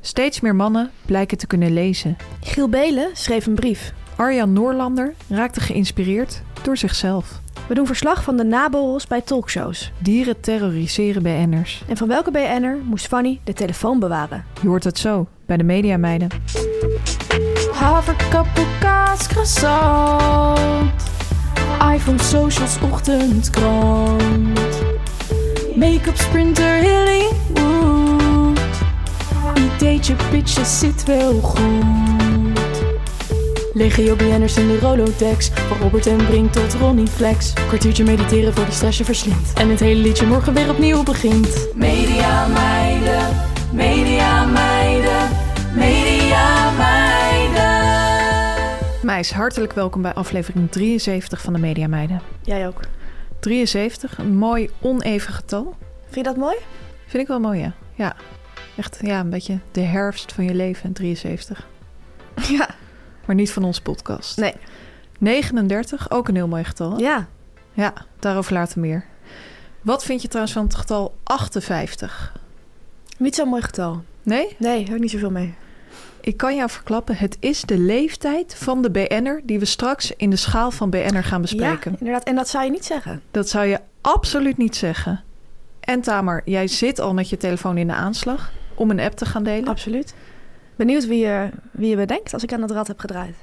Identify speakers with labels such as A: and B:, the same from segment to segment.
A: Steeds meer mannen blijken te kunnen lezen.
B: Giel Belen schreef een brief.
A: Arjan Noorlander raakte geïnspireerd door zichzelf.
B: We doen verslag van de naborrels bij talkshows.
A: Dieren terroriseren BN'ers.
B: En van welke BN'er moest Fanny de telefoon bewaren?
A: Je hoort het zo bij de Mediameiden.
C: Haverkappel, kaas, croissant. iPhone, socials, ochtendkrant. Make-up, sprinter, Hollywood. Ideetje, pitje, zit wel goed. Legio BN'ers in de Rolodex. Van Robert en Brink tot Ronnie Flex. Kwartiertje mediteren voor die stress je verslindt. En het hele liedje morgen weer opnieuw begint. Media meiden, media meiden, media meiden.
A: Meis, hartelijk welkom bij aflevering 73 van de Mediameiden.
B: Jij ook.
A: 73, een mooi oneven getal.
B: Vind je dat mooi?
A: Vind ik wel mooi, ja. Ja, echt ja, een beetje de herfst van je leven, 73.
B: Ja.
A: Maar niet van onze podcast.
B: Nee.
A: 39, ook een heel mooi getal. hè?
B: Ja.
A: Ja, daarover later meer. Wat vind je trouwens van het getal 58?
B: Niet zo'n mooi getal.
A: Nee?
B: Nee, heb ik niet zoveel mee.
A: Ik kan jou verklappen, het is de leeftijd van de BN'er... die we straks in de schaal van BN'er gaan bespreken.
B: Ja, inderdaad. En dat zou je niet zeggen.
A: Dat zou je absoluut niet zeggen. En Tamer, jij zit al met je telefoon in de aanslag... om een app te gaan delen.
B: Absoluut. Benieuwd wie je, wie je bedenkt als ik aan het rad heb gedraaid.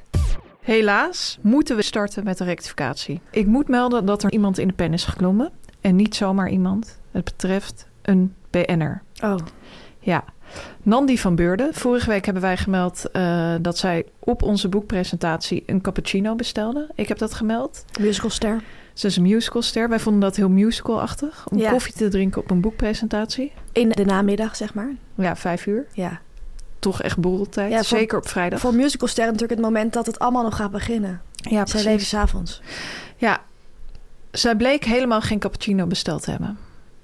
A: Helaas moeten we starten met de rectificatie. Ik moet melden dat er iemand in de pen is geklommen. En niet zomaar iemand. Het betreft een BN'er.
B: Oh.
A: Ja. Nandi van Beurden. Vorige week hebben wij gemeld eh, dat zij op onze boekpresentatie een cappuccino bestelde. Ik heb dat gemeld.
B: Musicalster.
A: Ze is een musicalster. Wij vonden dat heel musicalachtig. Om
B: Ja.
A: koffie te drinken op een boekpresentatie.
B: In de namiddag, zeg maar.
A: Ja, vijf uur.
B: Ja.
A: Toch echt borreltijd.
B: Ja, voor-
A: Zeker op vrijdag.
B: Voor musicalster natuurlijk het moment dat het allemaal nog gaat beginnen.
A: ja,
B: Zij
A: precies.
B: leven s'avonds.
A: Ja. Zij bleek helemaal geen cappuccino besteld te hebben.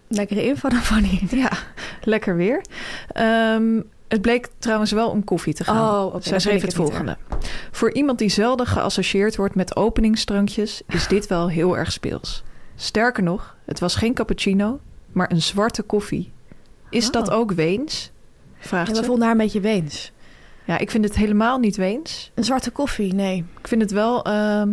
B: Lekkere info dan Fanny.
A: Ja, lekker weer. Ehm, het bleek trouwens wel om koffie te gaan.
B: Oh, oké,
A: Zij
B: dan
A: schreef
B: ben
A: het
B: ik het niet,
A: volgende. Voor iemand die zelden geassocieerd wordt met openingsdrankjes... is dit wel heel erg speels. Sterker nog, het was geen cappuccino, maar een zwarte koffie. Is dat
B: Oh.
A: ook Weens?
B: En
A: Vraagt
B: we
A: ze.
B: vonden haar een beetje weens.
A: Ja, ik vind het helemaal niet Weens.
B: Een zwarte koffie, nee.
A: Ik vind het wel ehm,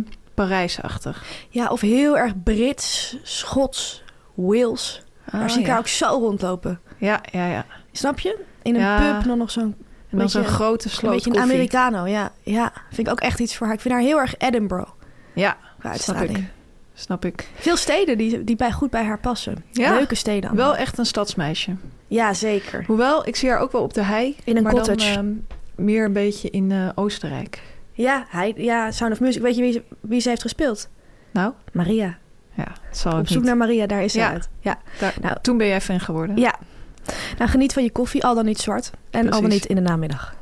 A: Parijsachtig.
B: Ja, of heel erg Brits, Schots, Wales.
A: Ah,
B: daar zie ik
A: ja.
B: haar ook zo rondlopen.
A: Ja, ja, ja.
B: Snap je? In een
A: Ja.
B: pub dan nog zo'n
A: En dan
B: Beetje-
A: zo'n grote sloot
B: beetje een
A: koffie.
B: Americano. Ja. ja, vind ik ook echt iets voor haar. Ik vind haar heel erg Edinburgh
A: Ja,
B: qua
A: snap
B: uitstraling.
A: ik. Snap ik.
B: Veel steden die, die bij, goed bij haar passen.
A: Ja.
B: Leuke steden allemaal.
A: Wel echt een stadsmeisje.
B: Ja, zeker.
A: Hoewel, ik zie haar ook wel op de hei.
B: In een
A: maar
B: cottage.
A: Dan, ehm, meer een beetje in eh, Oostenrijk.
B: Ja, hij, ja, Sound of Music. Weet je wie, ze- wie ze heeft gespeeld?
A: Nou,
B: Maria.
A: ja, het zal
B: Op
A: ook
B: zoek
A: niet.
B: naar Maria, daar is ze
A: Ja.
B: uit. Ja.
A: Daar-
B: nou-
A: Toen ben jij fan geworden.
B: ja. Nou, geniet van je koffie, al dan niet zwart. En al dan
A: Precies.
B: niet in de namiddag.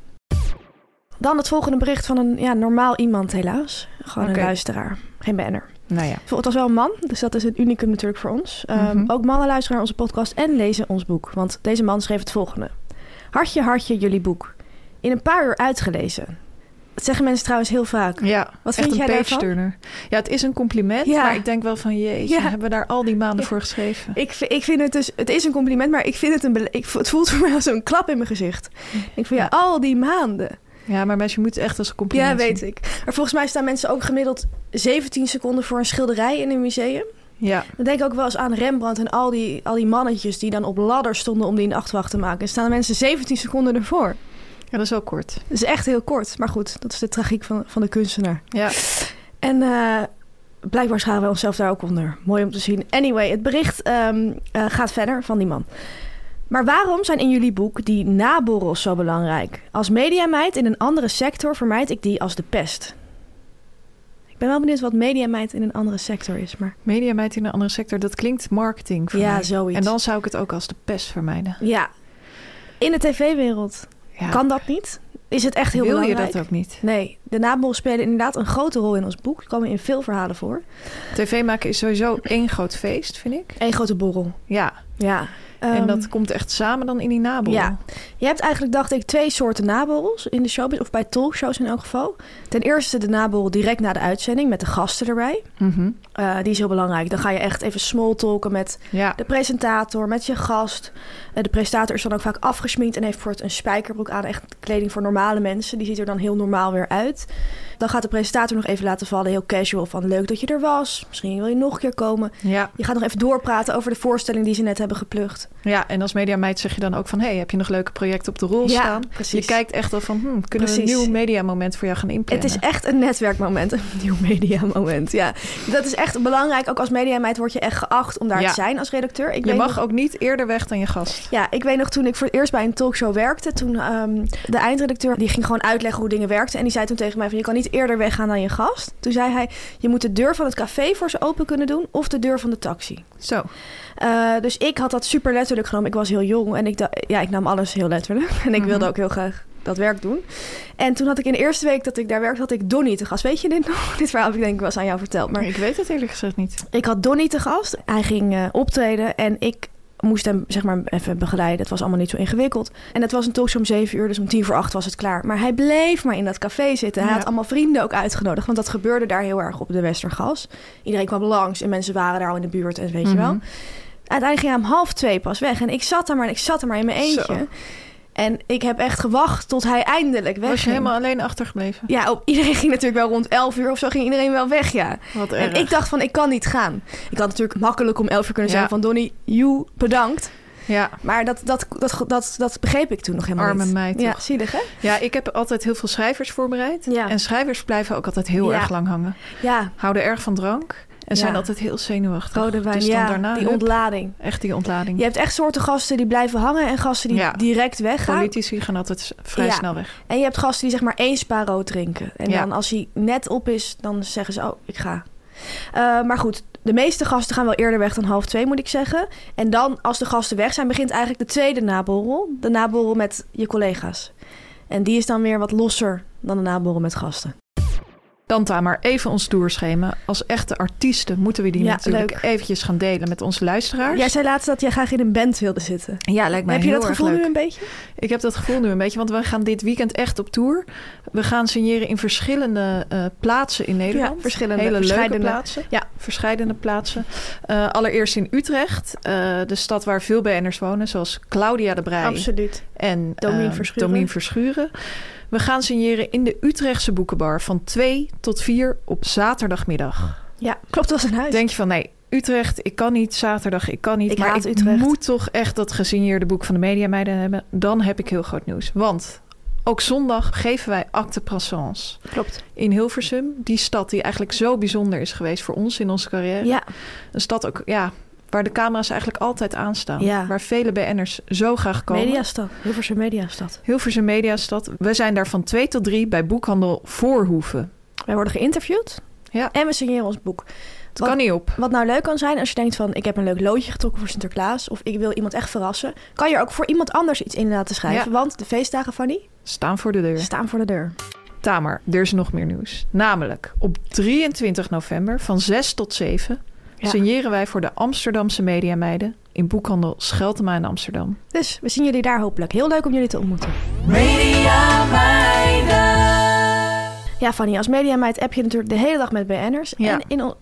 B: Dan het volgende bericht van een ja, normaal iemand helaas. Gewoon
A: Oké.
B: een luisteraar. Geen banner.
A: Nou ja.
B: Het was wel een man, dus dat is een unicum natuurlijk voor ons. Ehm,
A: Mhm.
B: Ook mannen luisteren naar onze podcast en lezen ons boek. Want deze man schreef het volgende. Hartje, hartje, jullie boek. In een paar uur uitgelezen. Dat zeggen mensen trouwens heel vaak.
A: Ja,
B: Wat
A: echt
B: vind
A: een
B: jij
A: page
B: daarvan?
A: turner. Ja, het is een compliment,
B: Ja.
A: maar ik denk wel van jeetje,
B: Ja.
A: hebben we daar al die maanden
B: Ja.
A: voor geschreven?
B: Ik, vi- ik vind het dus, het is een compliment, maar ik vind het een, bele- ik, vo- het voelt voor mij als een klap in mijn gezicht. Ik vind ja, al die maanden.
A: Ja, maar mensen, je moet het echt als een
B: Ja,
A: compliment
B: weet
A: zien.
B: ik. Maar volgens mij staan mensen ook gemiddeld 17 seconden voor een schilderij in een museum.
A: Ja.
B: Dan denk ik ook wel eens aan Rembrandt en al die, al die mannetjes die dan op ladders stonden om die een achtwacht te maken. En staan de mensen 17 seconden ervoor.
A: ja, dat is wel kort.
B: Dat is echt heel kort. Maar goed, dat is de tragiek van, van de kunstenaar.
A: Ja.
B: En eh, blijkbaar scharen we onszelf daar ook onder. Mooi om te zien. Anyway, het bericht ehm, eh, gaat verder van die man. Maar waarom zijn in jullie boek die naborrels zo belangrijk? Als mediameid in een andere sector vermijd ik die als de pest. Ik ben wel benieuwd wat mediameid in een andere sector is. Maar
A: Mediameid in een andere sector, dat klinkt marketing voor
B: Ja,
A: mij.
B: zoiets.
A: En dan zou ik het ook als de pest vermijden.
B: ja, in de tv-wereld
A: Ja.
B: kan dat niet. Is het echt heel
A: Wil
B: belangrijk?
A: je dat ook niet?
B: Nee, de naborrels spelen inderdaad een grote rol in ons boek. Die komen in veel verhalen voor.
A: TV maken is sowieso één groot feest, vind ik.
B: Eén grote borrel.
A: Ja.
B: Ja.
A: en
B: Ehm,
A: dat komt echt samen dan in die nabel.
B: Ja, je hebt eigenlijk, dacht ik, twee soorten naborrels in de showbiz, of bij talkshows in elk geval. Ten eerste de naborrel direct na de uitzending met de gasten erbij.
A: Mhm.
B: Eh, die is heel belangrijk. Dan ga je echt even smalltalken met
A: ja.
B: de presentator, met je gast. Eh, de presentator is dan ook vaak afgesminkt en heeft bijvoorbeeld een spijkerbroek aan. Echt kleding voor normale mensen. Die ziet er dan heel normaal weer uit. Dan gaat de presentator nog even laten vallen, heel casual, van leuk dat je er was. Misschien wil je nog een keer komen.
A: Ja.
B: Je gaat nog even doorpraten over de voorstelling die ze net hebben geplukt.
A: ja, en als mediameid zeg je dan ook van... hey, heb je nog leuke projecten op de rol
B: Ja,
A: staan?
B: precies.
A: Je kijkt echt al van, hmm, kunnen we
B: Precies.
A: een nieuw mediamoment voor jou gaan
B: Het
A: inplannen?
B: is echt een netwerkmoment, een nieuw mediamoment. Ja, dat is echt belangrijk. Ook als mediameid word je echt geacht om daar
A: Ja.
B: te zijn als redacteur. Ik
A: je
B: weet
A: mag
B: nog-
A: ook niet eerder weg dan je gast.
B: ja, ik weet nog toen ik voor het eerst bij een talkshow werkte, toen ehm, de eindredacteur die ging gewoon uitleggen hoe dingen werkten en die zei toen tegen mij van je kan niet eerder weggaan dan je gast. Toen zei hij je moet de deur van het café voor ze open kunnen doen of de deur van de taxi.
A: Zo.
B: Eh, dus ik had dat super letterlijk genomen. Ik was heel jong en ik, da- ja, ik nam alles heel letterlijk. En ik wilde ook heel graag dat werk doen. En toen had ik in de eerste week dat ik daar werkte, had ik Donnie te gast. Weet je dit nog? Dit verhaal heb ik denk ik wel eens aan jou verteld. Maar
A: Maar ik weet het eerlijk gezegd niet.
B: ik had Donnie te gast. Hij ging eh, optreden en ik moest hem zeg maar even begeleiden. Het was allemaal niet zo ingewikkeld. En het was een talkshow om zeven uur, dus om tien voor acht was het klaar. Maar hij bleef maar in dat café zitten. Hij
A: Ja.
B: had allemaal vrienden ook uitgenodigd, want dat gebeurde daar heel erg op de Westergas. Iedereen kwam langs en mensen waren daar al in de buurt en
A: Mhm.
B: weet je wel. Uiteindelijk ging hij om half twee pas weg. En ik zat daar maar, en ik zat er maar in mijn eentje.
A: Zo.
B: En ik heb echt gewacht tot hij eindelijk weg
A: Was je helemaal alleen achtergebleven?
B: ja, op, iedereen ging natuurlijk wel rond 11 uur of zo ging iedereen wel weg, ja.
A: Wat
B: en
A: erg.
B: ik dacht van, ik kan niet gaan. Ik had natuurlijk makkelijk om 11 uur kunnen
A: Ja.
B: zeggen van Donnie, you, bedankt.
A: Ja.
B: Maar dat, dat, dat, dat, dat begreep ik toen nog helemaal
A: Arme
B: niet.
A: meid,
B: Ja,
A: toch?
B: zielig hè?
A: Ja, ik heb altijd heel veel schrijvers voorbereid.
B: Ja.
A: En schrijvers blijven ook altijd heel
B: Ja.
A: erg lang hangen.
B: Ja,
A: Houden erg van drank. En
B: Ja.
A: zijn altijd heel zenuwachtig.
B: rode wijn,
A: Dus dan
B: ja,
A: daarna
B: die
A: hup,
B: ontlading.
A: echt die ontlading.
B: Je hebt echt soorten gasten die blijven hangen en gasten die
A: Ja.
B: direct weggaan.
A: Politici gaan altijd s- vrij
B: Ja.
A: snel weg.
B: En je hebt gasten die zeg maar één sparo drinken. En
A: Ja.
B: dan als hij net op is, dan zeggen ze, oh, ik ga. Eh, maar goed, de meeste gasten gaan wel eerder weg dan half twee, moet ik zeggen. En dan, als de gasten weg zijn, begint eigenlijk de tweede naborrel. De naborrel met je collega's. En die is dan weer wat losser dan de naborrel met gasten.
A: Dan Tamar, even ons tourschema. Als echte artiesten moeten we die
B: Ja,
A: natuurlijk
B: leuk.
A: eventjes gaan delen met onze luisteraars.
B: Jij zei laatst dat jij graag in een band wilde zitten.
A: ja lijkt mij
B: Heb je
A: heel
B: dat
A: erg
B: gevoel nu
A: leuk.
B: een beetje?
A: Ik heb dat gevoel nu een beetje, want we gaan dit weekend echt op tour. We gaan signeren in verschillende eh, plaatsen in Nederland.
B: Ja, verschillende,
A: Hele leuke
B: verscheidene.
A: plaatsen.
B: Ja.
A: Verscheidene plaatsen. Eh, allereerst in Utrecht, eh, de stad waar veel BN'ers wonen, zoals Claudia de Brij
B: Absoluut.
A: en
B: Domien
A: eh,
B: Verschuren.
A: Domien Verschuren. We gaan signeren in de Utrechtse boekenbar van 2 tot 4 op zaterdagmiddag.
B: Ja, klopt als een huis.
A: Denk je van nee, Utrecht, ik kan niet. Zaterdag, ik kan niet.
B: Ik
A: maar
B: haat
A: ik
B: Utrecht.
A: moet toch echt dat gesigneerde boek van de Media Meiden hebben. Dan heb ik heel groot nieuws. Want ook zondag geven wij acte passance
B: Klopt.
A: in Hilversum. Die stad die eigenlijk zo bijzonder is geweest voor ons in onze carrière.
B: Ja,
A: Een stad ook, ja, waar de camera's eigenlijk altijd aanstaan.
B: Ja.
A: Waar vele BN'ers zo graag komen.
B: mediastad. Hilversum Mediastad.
A: Hilversum Mediastad. We zijn daar van 2 tot 3 bij boekhandel Voorhoeven.
B: Wij worden geïnterviewd
A: Ja,
B: en we signeren ons boek.
A: het kan niet op.
B: Wat nou leuk kan zijn als je denkt van ik heb een leuk loodje getrokken voor Sinterklaas of ik wil iemand echt verrassen, kan je er ook voor iemand anders iets in laten schrijven,
A: Ja.
B: want de feestdagen van die
A: Staan voor de deur.
B: staan voor de deur.
A: Tamer, er is nog meer nieuws. Namelijk, op 23 november van 6 tot 7
B: Ja.
A: signeren wij voor de Amsterdamse Mediameiden in boekhandel Scheltema in Amsterdam.
B: Dus we zien jullie daar hopelijk. Heel leuk om jullie te ontmoeten. Ja, Fanny, als mediameid app je natuurlijk de hele dag met BN'ers.
A: Ja.
B: En in on-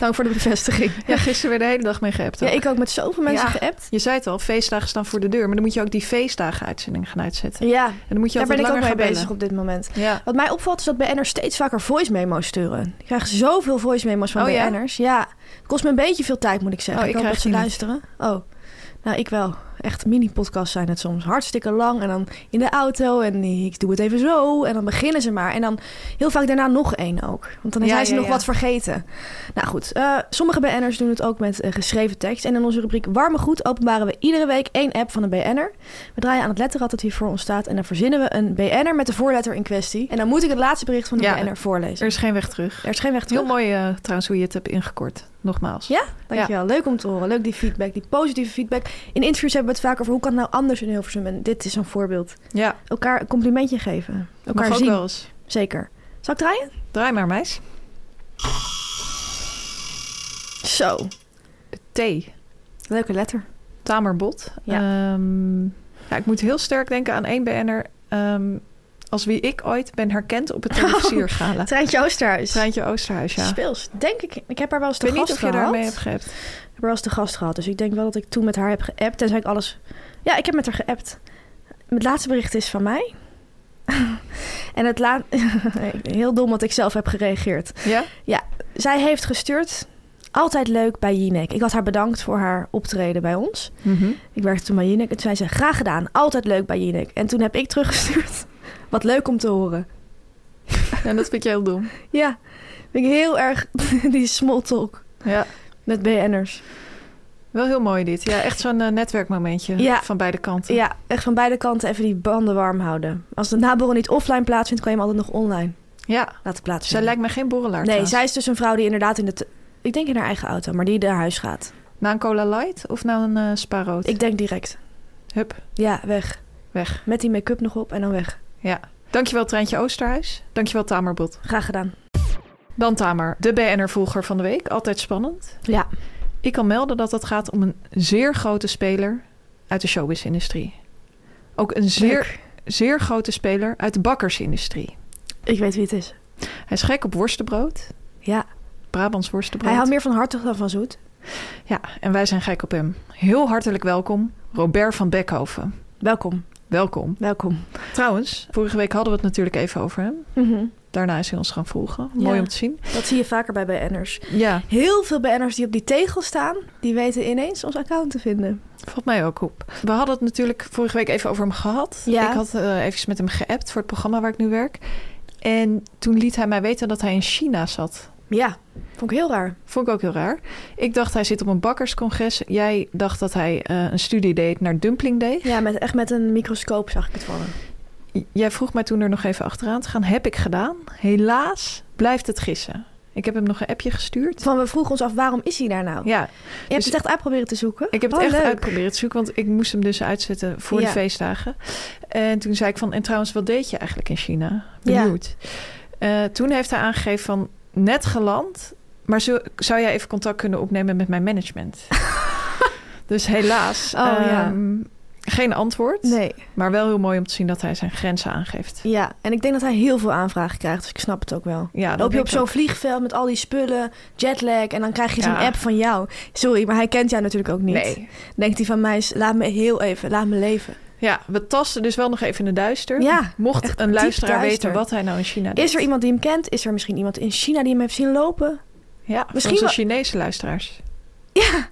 B: Dank voor de bevestiging.
A: Ja, gisteren weer de hele dag mee geappt.
B: Ja,
A: ook.
B: ik ook met zoveel mensen
A: Ja.
B: geappt.
A: Je zei het al, feestdagen staan voor de deur. Maar dan moet je ook die feestdagen uitzending gaan uitzetten.
B: Ja,
A: En dan moet je
B: daar ben
A: altijd
B: ik
A: langer
B: ook mee
A: gaan bellen.
B: bezig op dit moment.
A: Ja.
B: Wat mij opvalt is dat BN'ers steeds vaker voice memo's sturen. Ik krijg zoveel voice memo's van
A: Oh, ja?
B: BN'ers. Ja? het kost me een beetje veel tijd moet ik zeggen.
A: Oh,
B: ik,
A: ik
B: hoop dat
A: krijg
B: ze
A: die
B: luisteren. Oh, nou ik wel. Echt mini-podcasts zijn het soms. Hartstikke lang en dan in de auto en ik doe het even zo. En dan beginnen ze maar. En dan heel vaak daarna nog één ook. Want dan
A: Ja,
B: zijn ze
A: ja,
B: nog
A: ja.
B: wat vergeten. Nou goed, eh, sommige BN'ers doen het ook met eh, geschreven tekst. En in onze rubriek Warme Goed openbaren we iedere week één app van een BN'er. We draaien aan het letterrad dat hier voor ons staat. En dan verzinnen we een BN'er met de voorletter in kwestie. En dan moet ik het laatste bericht van de
A: Ja.
B: BN'er voorlezen.
A: Er is geen weg terug.
B: Er is geen weg terug.
A: Heel mooi eh, trouwens hoe je het hebt ingekort. Nogmaals.
B: Ja, dankjewel. Leuk om te horen. Leuk die feedback, die positieve feedback. In interviews hebben we het vaak over hoe kan het nou anders in Hilversum. En dit is een voorbeeld.
A: ja.
B: Elkaar een complimentje geven. Elkaar
A: Mag ook
B: zien.
A: wel eens.
B: Zeker. Zal ik draaien?
A: Draai maar, meis.
B: Zo.
A: Thee.
B: Leuke letter.
A: Tamerbot.
B: Ja.
A: Ehm, ja, ik moet heel sterk denken aan één BN'er. ehm, als wie ik ooit ben herkend op het televiziergala.
B: Treintje Oosterhuis.
A: Treintje Oosterhuis, ja. Ik
B: Speels, denk ik. Ik heb haar wel eens te
A: weet
B: gast
A: niet of je
B: gehad.
A: daarmee hebt gehebt.
B: Ik heb haar wel eens te gast gehad. Dus ik denk wel dat ik toen met haar heb geappt. Tenzij ik alles... Ja, ik heb met haar geappt. Het laatste bericht is van mij. en het laat... Heel dom wat ik zelf heb gereageerd.
A: Ja?
B: Zij heeft gestuurd... Altijd leuk bij Jinek. Ik had haar bedankt voor haar optreden bij ons. Ik werkte toen bij Jinek. En toen zei ze, graag gedaan. Altijd leuk bij Jinek. En toen heb ik teruggestuurd. Wat leuk om te horen.
A: En dat vind je heel dom.
B: Ja, vind ik heel erg... die small talk
A: Ja.
B: met BN'ers.
A: Wel heel mooi dit. Ja, echt zo'n eh, netwerkmomentje
B: Ja.
A: van beide kanten.
B: Ja, echt van beide kanten even die banden warm houden. Als de naborrel niet offline plaatsvindt, kan je hem altijd nog online
A: Ja.
B: laten
A: Zij
B: plaatsvinden.
A: lijkt me geen borrelaar
B: nee,
A: trouwens.
B: zij is dus een vrouw die inderdaad in de... t- Ik denk in haar eigen auto, maar die naar huis gaat.
A: Na een cola light of na een eh spa rood?
B: Ik denk direct.
A: Hup,
B: Ja, weg.
A: weg.
B: Met die make-up nog op en dan weg.
A: Ja. Dankjewel Treintje Oosterhuis. Dankjewel Tamerbot.
B: Graag gedaan.
A: Dan Tamer, de BNR-volger van de week. Altijd spannend.
B: Ja.
A: Ik kan melden dat het gaat om een zeer grote speler uit de showbiz-industrie. Ook een zeer, zeer grote speler uit de bakkersindustrie.
B: Ik weet wie het is.
A: Hij is gek op worstenbrood.
B: Ja.
A: Brabants worstenbrood.
B: Hij houdt meer van hartig dan van zoet.
A: Ja, en wij zijn gek op hem. Heel hartelijk welkom, Robert van Beckhoven.
B: Welkom.
A: Welkom.
B: Welkom.
A: Trouwens, vorige week hadden we het natuurlijk even over hem.
B: Mhm.
A: Daarna is hij ons gaan volgen. Mooi
B: Ja.
A: om te zien.
B: Dat zie je vaker bij BN'ers.
A: Ja,
B: Heel veel BN'ers die op die tegel staan, die weten ineens ons account te vinden.
A: valt mij ook op. We hadden het natuurlijk vorige week even over hem gehad.
B: Ja.
A: Ik had eh even met hem geappt voor het programma waar ik nu werk. En toen liet hij mij weten dat hij in China zat.
B: Ja, vond ik heel raar.
A: Vond ik ook heel raar. Ik dacht hij zit op een bakkerscongres. Jij dacht dat hij eh, een studie deed naar dumplingdeeg.
B: Ja, met, echt met een microscoop zag ik het van hem.
A: Jij vroeg mij toen er nog even achteraan te gaan. Heb ik gedaan? Helaas blijft het gissen. Ik heb hem nog een appje gestuurd.
B: Van we vroegen ons af, waarom is hij daar nou?
A: Ja,
B: je hebt
A: dus-
B: het echt uitproberen te zoeken.
A: ik heb
B: Oh,
A: het echt
B: leuk.
A: uitgeprobeerd te zoeken, want ik moest hem dus uitzetten voor
B: Ja.
A: de feestdagen. En toen zei ik van, en trouwens, wat deed je eigenlijk in China?
B: Ja.
A: Benieuwd. Eh, toen heeft hij aangegeven van, net geland, maar zo, zou jij even contact kunnen opnemen met mijn management? dus helaas,
B: Oh, ja.
A: ehm, geen antwoord,
B: Nee,
A: maar wel heel mooi om te zien dat hij zijn grenzen aangeeft.
B: ja. En ik denk dat hij heel veel aanvragen krijgt, dus ik snap het ook wel.
A: Ja, dat
B: Dan loop je
A: denk
B: op
A: ik
B: zo'n
A: ook.
B: vliegveld met al die spullen, jetlag... en dan krijg je zo'n
A: Ja.
B: app van jou. Sorry, maar hij kent jou natuurlijk ook niet.
A: Nee.
B: Denkt hij van mij, laat me heel even, laat me leven.
A: Ja, we tasten dus wel nog even in de duister.
B: Ja, echt
A: Mocht een
B: diep
A: luisteraar
B: duister.
A: weten wat hij nou in China doet.
B: Is er iemand die hem kent? Is er misschien iemand in China die hem heeft zien lopen?
A: Ja,
B: Misschien
A: misschien onze
B: wel-
A: Chinese luisteraars.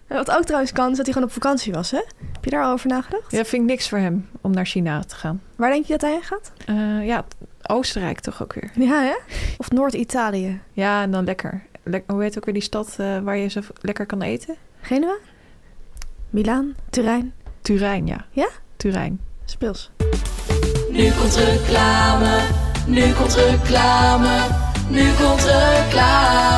B: Wat ook trouwens kan, is dat hij gewoon op vakantie was, hè? Heb je daar al over nagedacht?
A: Ja, vind ik niks voor hem om naar China te gaan.
B: Waar denk je dat hij heen gaat?
A: Eh, ja, Oostenrijk toch ook weer.
B: Ja, hè? Of Noord-Italië?
A: Ja, en dan lekker. Lek- hoe heet ook weer die stad eh, waar je zo v- lekker kan eten?
B: Genua? Milaan? Turijn?
A: Turijn, ja.
B: Ja?
A: Turijn.
B: Speels.
C: Nu komt reclame, nu komt reclame, nu komt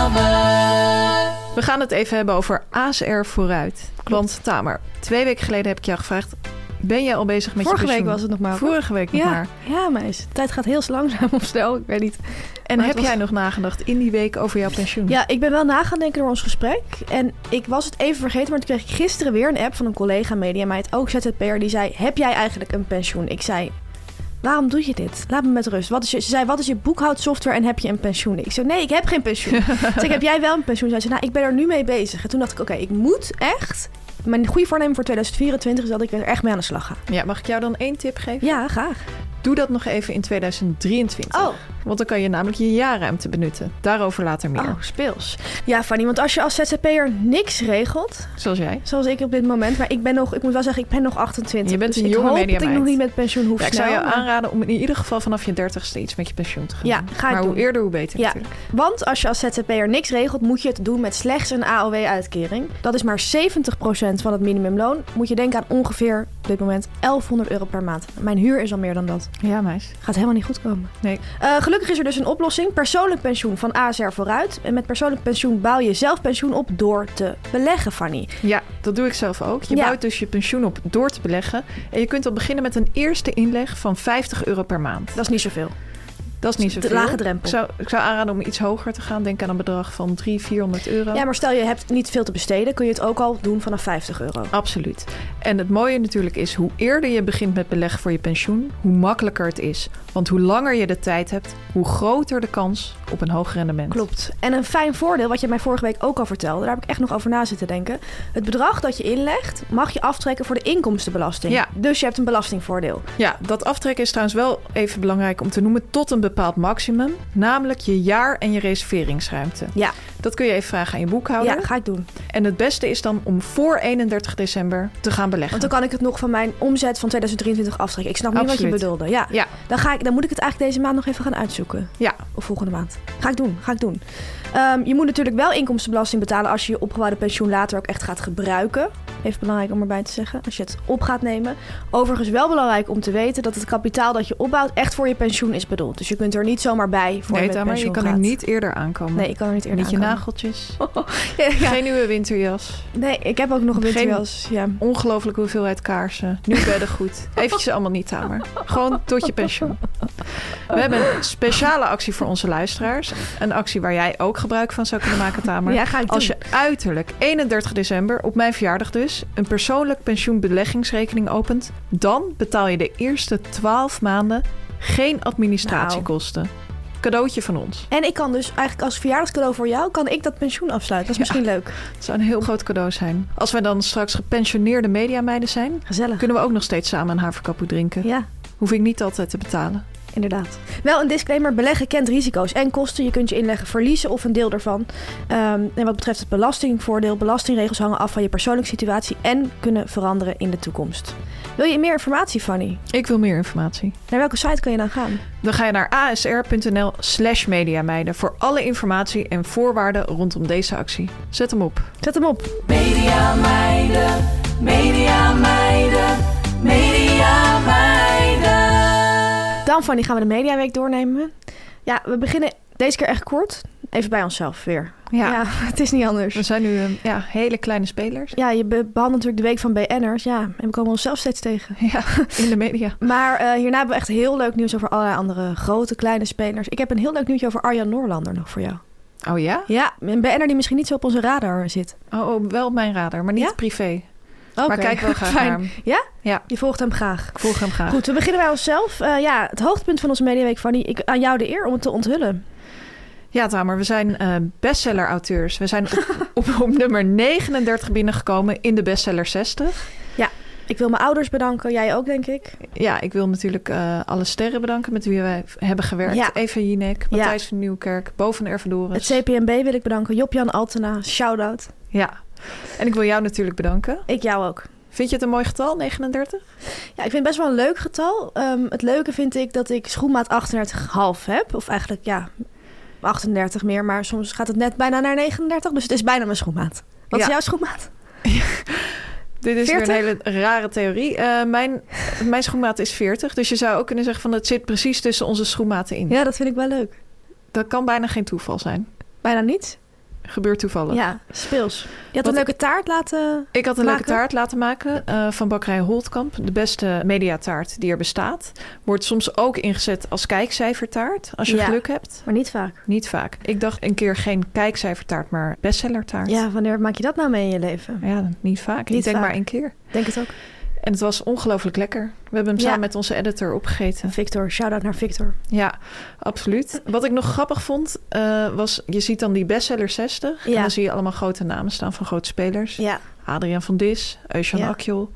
C: reclame.
A: We gaan het even hebben over ASR vooruit. Want Tamer, twee weken geleden heb ik jou gevraagd... ben jij al bezig met
B: Vorige
A: je
B: week
A: pensioen?
B: was het nog maar, hoor.
A: Vorige week nog
B: Ja,
A: maar.
B: ja, meis. De tijd gaat heel langzaam of snel, ik weet niet.
A: En
B: Maar het
A: heb
B: was-
A: jij nog nagedacht in die week over jouw pensioen?
B: Ja, ik ben wel na gaan denken door ons gesprek. En ik was het even vergeten, maar toen kreeg ik gisteren weer een app van een collega mediameid, ook ZZP'er, die zei... Heb jij eigenlijk een pensioen? Ik zei... waarom doe je dit? Laat me met rust. Wat is je, ze zei, wat is je boekhoudsoftware en heb je een pensioen? Ik zei, nee, ik heb geen pensioen. Ze zei, heb jij wel een pensioen? Zij zei, nou, ik ben er nu mee bezig. En toen dacht ik, oké, ik moet echt... Mijn goede voornemen voor 2024 is dat ik er echt mee aan de slag ga.
A: Ja, mag ik jou dan één tip geven?
B: Ja, graag.
A: Doe dat nog even in 2023.
B: Oh.
A: Want dan kan je namelijk je jaarruimte benutten. Daarover later meer.
B: Oh, speels. Ja, Fanny, want als je als ZZP'er niks regelt,
A: Zoals jij.
B: zoals ik op dit moment, maar ik ben nog, ik moet wel zeggen, ik ben nog 28.
A: Je bent
B: dus
A: een
B: ik
A: jonge
B: hoop dat ik
A: mediameid.
B: nog niet met pensioen hoef
A: Ja, ik
B: snel,
A: zou jou
B: maar-
A: aanraden om in ieder geval vanaf je 30 steeds met je pensioen te gaan.
B: Ja,
A: doen.
B: ga ik
A: Maar hoe
B: doen.
A: eerder, hoe beter
B: Ja.
A: natuurlijk.
B: Want als je als ZZP'er niks regelt, moet je het doen met slechts een AOW-uitkering. Dat is maar 70% van het minimumloon. Moet je denken aan ongeveer op dit moment 1100 euro per maand. Mijn huur is al meer dan dat.
A: Ja, meis.
B: Gaat helemaal niet goed komen.
A: Nee.
B: Eh, gelukkig is er dus een oplossing. Persoonlijk pensioen van ASR vooruit. En met persoonlijk pensioen bouw je zelf pensioen op door te beleggen, Fanny.
A: Ja, dat doe ik zelf ook. Je
B: Ja.
A: bouwt dus je pensioen op door te beleggen. En je kunt al beginnen met een eerste inleg van 50 euro per maand.
B: Dat is niet zoveel.
A: Dat is niet zoveel.
B: de lage drempel.
A: Ik zou, ik zou aanraden om iets hoger te gaan. Denk aan een bedrag van 300, 400 euro.
B: Ja, maar stel je hebt niet veel te besteden, kun je het ook al doen vanaf 50 euro.
A: Absoluut. En het mooie natuurlijk is, hoe eerder je begint met beleggen voor je pensioen, hoe makkelijker het is. Want hoe langer je de tijd hebt, hoe groter de kans op een hoog rendement.
B: Klopt. En een fijn voordeel, wat je mij vorige week ook al vertelde, daar heb ik echt nog over na zitten denken. Het bedrag dat je inlegt, mag je aftrekken voor de inkomstenbelasting.
A: Ja.
B: Dus je hebt een belastingvoordeel.
A: Ja, dat aftrekken is trouwens wel even belangrijk om te noemen tot een bepaald maximum. Namelijk je jaar- en je reserveringsruimte.
B: Ja,
A: Dat kun je even vragen aan je boekhouder.
B: ja ga ik doen.
A: En het beste is dan om voor 31 december te gaan beleggen.
B: Want dan kan ik het nog van mijn omzet van 2023 aftrekken. Ik snap niet wat je
A: Absoluut.
B: bedoelde. Ja.
A: Ja,
B: Dan, ga ik, dan moet ik het eigenlijk deze maand nog even gaan uitzoeken.
A: ja,
B: Of volgende maand. Ga ik doen, ga ik doen. Ehm, je moet natuurlijk wel inkomstenbelasting betalen als je je opgebouwde pensioen later ook echt gaat gebruiken. Even belangrijk om erbij te zeggen, als je het op gaat nemen. Overigens wel belangrijk om te weten dat het kapitaal dat je opbouwt echt voor je pensioen is bedoeld. Dus je kunt er niet zomaar bij voor je
A: nee,
B: met
A: Tamar, je
B: pensioen
A: kan er
B: gaat.
A: niet eerder aankomen.
B: Nee, ik kan er niet eerder
A: Niet je
B: aankomen.
A: nageltjes.
B: Ja, ja.
A: Geen nieuwe winterjas.
B: Nee, ik heb ook nog een
A: Geen-
B: winterjas. Ja.
A: Ongelooflijke hoeveelheid kaarsen. Nu beddengoed. Eventjes allemaal niet, Tamer. Gewoon tot je pensioen. We hebben een speciale actie voor onze luisteraars. Een actie waar jij ook gebruik van zou kunnen maken, Tamer.
B: Ja, ga ik
A: Als
B: doen.
A: je uiterlijk 31 december, op mijn verjaardag dus... een persoonlijk pensioenbeleggingsrekening opent... dan betaal je de eerste 12 maanden geen administratiekosten. Cadeautje van ons.
B: En ik kan dus eigenlijk als verjaardagscadeau voor jou, kan ik dat pensioen afsluiten. Dat is misschien leuk.
A: Het zou een heel groot cadeau zijn. Als wij dan straks gepensioneerde mediameiden zijn...
B: Gezellig.
A: kunnen we ook nog steeds samen een haverkapoe drinken.
B: Ja.
A: Hoef ik niet altijd te betalen.
B: Inderdaad. Wel een disclaimer: beleggen kent risico's en kosten. Je kunt je inleggen verliezen of een deel daarvan. Ehm, en wat betreft het belastingvoordeel, belastingregels hangen af van je persoonlijke situatie en kunnen veranderen in de toekomst. Wil je meer informatie, Fanny?
A: Ik wil meer informatie.
B: Naar welke site kan je dan gaan?
A: Dan ga je naar asr.nl slash mediameiden voor alle informatie en voorwaarden rondom deze actie. Zet hem op.
B: Zet hem op.
C: Media meiden, media meiden, media meiden.
B: Dan, Fanny, gaan we de Mediaweek doornemen. Ja, we beginnen deze keer echt kort. Even bij onszelf weer.
A: Ja.
B: het is niet anders.
A: We zijn nu eh, ja, hele kleine spelers
B: Ja, je be- behandelt natuurlijk de week van BN'ers. Ja, en we komen onszelf steeds tegen.
A: ja, in de media.
B: Maar eh, hierna hebben we echt heel leuk nieuws over allerlei andere grote, kleine spelers. Ik heb een heel leuk nieuwtje over Arjan Noorlander nog voor jou.
A: Oh ja?
B: Ja, een BN'er die misschien niet zo op onze radar zit.
A: Oh, oh, wel op mijn radar, maar niet
B: Ja?
A: privé.
B: Oké,
A: Maar kijk wel graag
B: fijn.
A: naar hem.
B: Ja?
A: Ja.
B: Je volgt hem graag.
A: Ik volg hem graag.
B: Goed, we beginnen bij onszelf. Eh, ja, het hoogtepunt van onze mediaweek, Fanny. Ik, aan jou de eer om het te onthullen.
A: Ja, Tamer, we zijn eh, bestseller-auteurs. We zijn op, op, op nummer 39 binnengekomen in de bestseller 60.
B: Ik wil mijn ouders bedanken, jij ook, denk ik.
A: Ja, ik wil natuurlijk eh, alle sterren bedanken met wie wij hebben gewerkt.
B: Ja.
A: Eva Jinek,
B: Ja.
A: Matthijs van Nieuwkerk, Bo van
B: Het
A: Ervedorens.
B: CPMB wil ik bedanken. Job-Jan Altena, shout-out.
A: Ja, en ik wil jou natuurlijk bedanken.
B: Ik jou ook.
A: Vind je het een mooi getal, 39?
B: Ja, ik vind het best wel een leuk getal. Ehm, het leuke vind ik dat ik schoenmaat 38,5 heb. Of eigenlijk, ja, 38 meer. Maar soms gaat het net bijna naar 39. Dus het is bijna mijn schoenmaat. Wat is
A: Ja.
B: jouw schoenmaat?
A: Dit is weer
B: 40?
A: een hele rare theorie. Eh, mijn, mijn schoenmaat is 40, dus je zou ook kunnen zeggen van het zit precies tussen onze schoenmaten in.
B: Ja, dat vind ik wel leuk.
A: Dat kan bijna geen toeval zijn.
B: Bijna niets.
A: Gebeurt toevallig.
B: Ja, speels. Je had
A: Wat-
B: een leuke taart laten...
A: Ik had een leuke
B: Maken?
A: taart laten maken eh, van bakkerij Holtkamp. De beste mediataart die er bestaat. Wordt soms ook ingezet als kijkcijfertaart, als je
B: Ja.
A: geluk hebt.
B: Maar niet vaak.
A: Niet vaak. Ik dacht een keer geen kijkcijfertaart, maar bestsellertaart.
B: Ja, wanneer maak je dat nou mee in je leven?
A: Ja, niet vaak.
B: Niet
A: ik denk
B: vaak.
A: maar één keer.
B: Denk het ook.
A: En het was ongelooflijk lekker. We hebben hem
B: Ja.
A: samen met onze editor opgegeten.
B: Victor, shout-out naar Victor.
A: Ja, absoluut. Wat ik nog grappig vond, eh, was... Je ziet dan die bestseller 60. En
B: Ja.
A: dan zie je allemaal grote namen staan van grote spelers.
B: Ja,
A: Adriaan van Dis, Eusjan
B: Ja.
A: Akjol.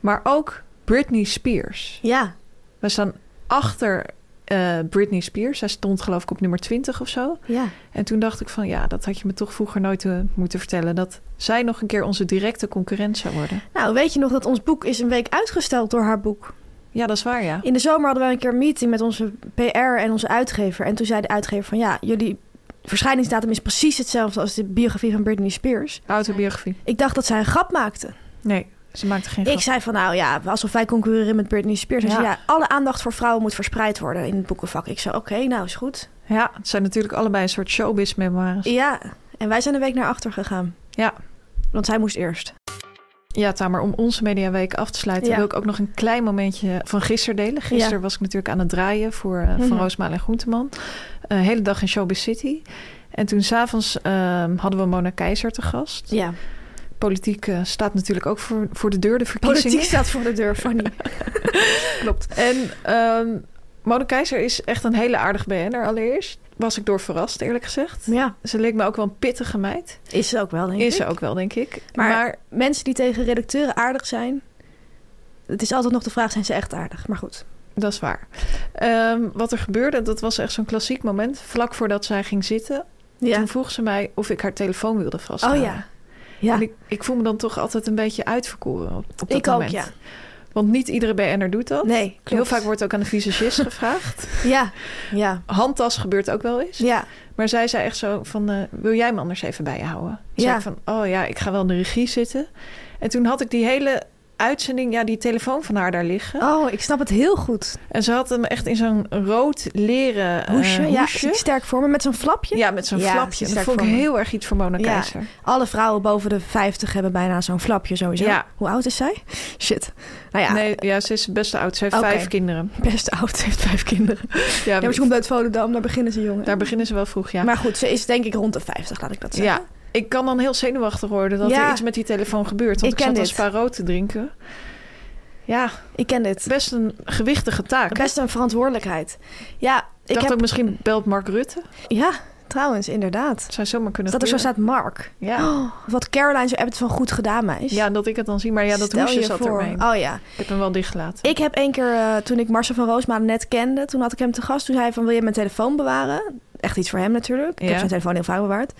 A: Maar ook Britney Spears.
B: ja,
A: We staan achter eh, Britney Spears. Zij stond geloof ik op nummer 20 of zo.
B: ja.
A: En toen dacht ik van ja, dat had je me toch vroeger nooit eh, moeten vertellen. Dat zij nog een keer onze directe concurrent zou worden.
B: Nou, weet je nog dat ons boek is een week uitgesteld door haar boek?
A: Ja, dat is waar ja.
B: In de zomer hadden we een keer een meeting met onze PR en onze uitgever. En toen zei de uitgever van ja, jullie verschijningsdatum is precies hetzelfde als de biografie van Britney Spears.
A: Autobiografie.
B: Ik dacht dat zij een grap maakte.
A: Nee, ze maakte geen
B: Ik
A: grap.
B: zei van nou ja, alsof wij concurreren met Britney Spears. Hij zei,
A: Ja.
B: ja, alle aandacht voor vrouwen moet verspreid worden in het boekenvak. Ik zei oké, nou is goed.
A: Ja, het zijn natuurlijk allebei een soort showbiz memoires.
B: Ja, en wij zijn een week naar achter gegaan.
A: Ja.
B: Want zij moest eerst.
A: Ja, Tamer, om onze mediaweek af te sluiten...
B: Ja.
A: wil ik ook nog een klein momentje van gisteren delen. Gisteren was ik natuurlijk aan het draaien voor eh,
B: Mhm.
A: Van Roosmalen en Groenteman. Eh, Een hele dag in Showbiz City. En toen s'avonds ehm hadden we Mona Keizer te gast.
B: Ja,
A: Politiek eh, staat natuurlijk ook voor, voor de deur, de verkiezingen.
B: politiek staat voor de deur, Fanny.
A: Klopt. En ehm Mona Keizer is echt een hele aardig BN'er allereerst. Was ik door verrast, eerlijk gezegd.
B: ja,
A: Ze leek me ook wel een pittige meid.
B: is ze ook wel, denk ik.
A: Is ze ook wel, denk ik.
B: Maar, mensen die tegen redacteuren aardig zijn... Het is altijd nog de vraag, zijn ze echt aardig? Maar goed.
A: Dat is waar. Ehm, wat er gebeurde, dat was echt zo'n klassiek moment. Vlak voordat zij ging zitten,
B: Ja.
A: toen vroeg ze mij of ik haar telefoon wilde vasthouden.
B: Oh ja. Ja,
A: En ik, ik voel me dan toch altijd een beetje uitverkoren op, op dat
B: Ik ook,
A: moment.
B: ja.
A: Want niet iedere BN'er doet dat.
B: Nee, klopt.
A: Heel vaak wordt ook aan de visagist gevraagd.
B: ja, ja,
A: Handtas gebeurt ook wel eens.
B: ja.
A: Maar zij zei echt zo van, eh, wil jij me anders even bij je houden?
B: Ja.
A: Zei ik van, oh ja, ik ga wel in de regie zitten. En toen had ik die hele uitzending, ja, die telefoon van haar daar liggen.
B: Oh, ik snap het heel goed.
A: En ze had hem echt in zo'n rood leren eh,
B: Hoesje, ja, zie
A: hoesje.
B: ik sterk voor me met zo'n flapje.
A: Ja, met zo'n
B: Ja,
A: flapje.
B: sterk
A: Dat vond ik
B: voor me.
A: heel erg iets voor Mona
B: Ja.
A: Keizer.
B: Alle vrouwen boven de 50 hebben bijna zo'n flapje sowieso.
A: Ja.
B: Hoe oud is zij? Shit. Nou ja,
A: Nee, ja, ze is best oud. Ze heeft
B: Oké.
A: vijf kinderen.
B: best oud. Ze heeft vijf kinderen. Ja,
A: Ja,
B: maar ze komt uit Volendam, daar beginnen ze jongen.
A: daar beginnen ze wel vroeg, ja.
B: Maar goed, ze is denk ik rond de 50, laat ik dat zeggen.
A: ja. Ik kan dan heel zenuwachtig worden dat er
B: Ja.
A: iets met die telefoon gebeurt. Want
B: Ik
A: ik,
B: ken
A: zat een
B: dit.
A: spa rood te drinken. Ja,
B: Ik ken dit.
A: best een gewichtige taak.
B: Best een verantwoordelijkheid. Ja,
A: ik
B: ik
A: dacht
B: heb...
A: ook, misschien belt Mark Rutte.
B: Ja, trouwens, inderdaad.
A: Het zou zomaar kunnen
B: Dat er zo
A: gebeuren.
B: staat Mark. Oh,
A: Ja.
B: Wat Caroline zo hebt van goed gedaan, meis.
A: ja, dat ik het dan zie. Maar ja, dat
B: Stel
A: hoesje
B: je
A: zat
B: voor.
A: ermee.
B: Oh ja.
A: Ik heb hem wel dichtgelaten.
B: Ik heb één keer, eh, toen ik Marcel van Roosmalen net kende, toen had ik hem te gast. Toen zei hij van, wil je mijn telefoon bewaren? Echt iets voor hem natuurlijk. Ik
A: Ja.
B: heb zijn telefoon heel vaak bewaard.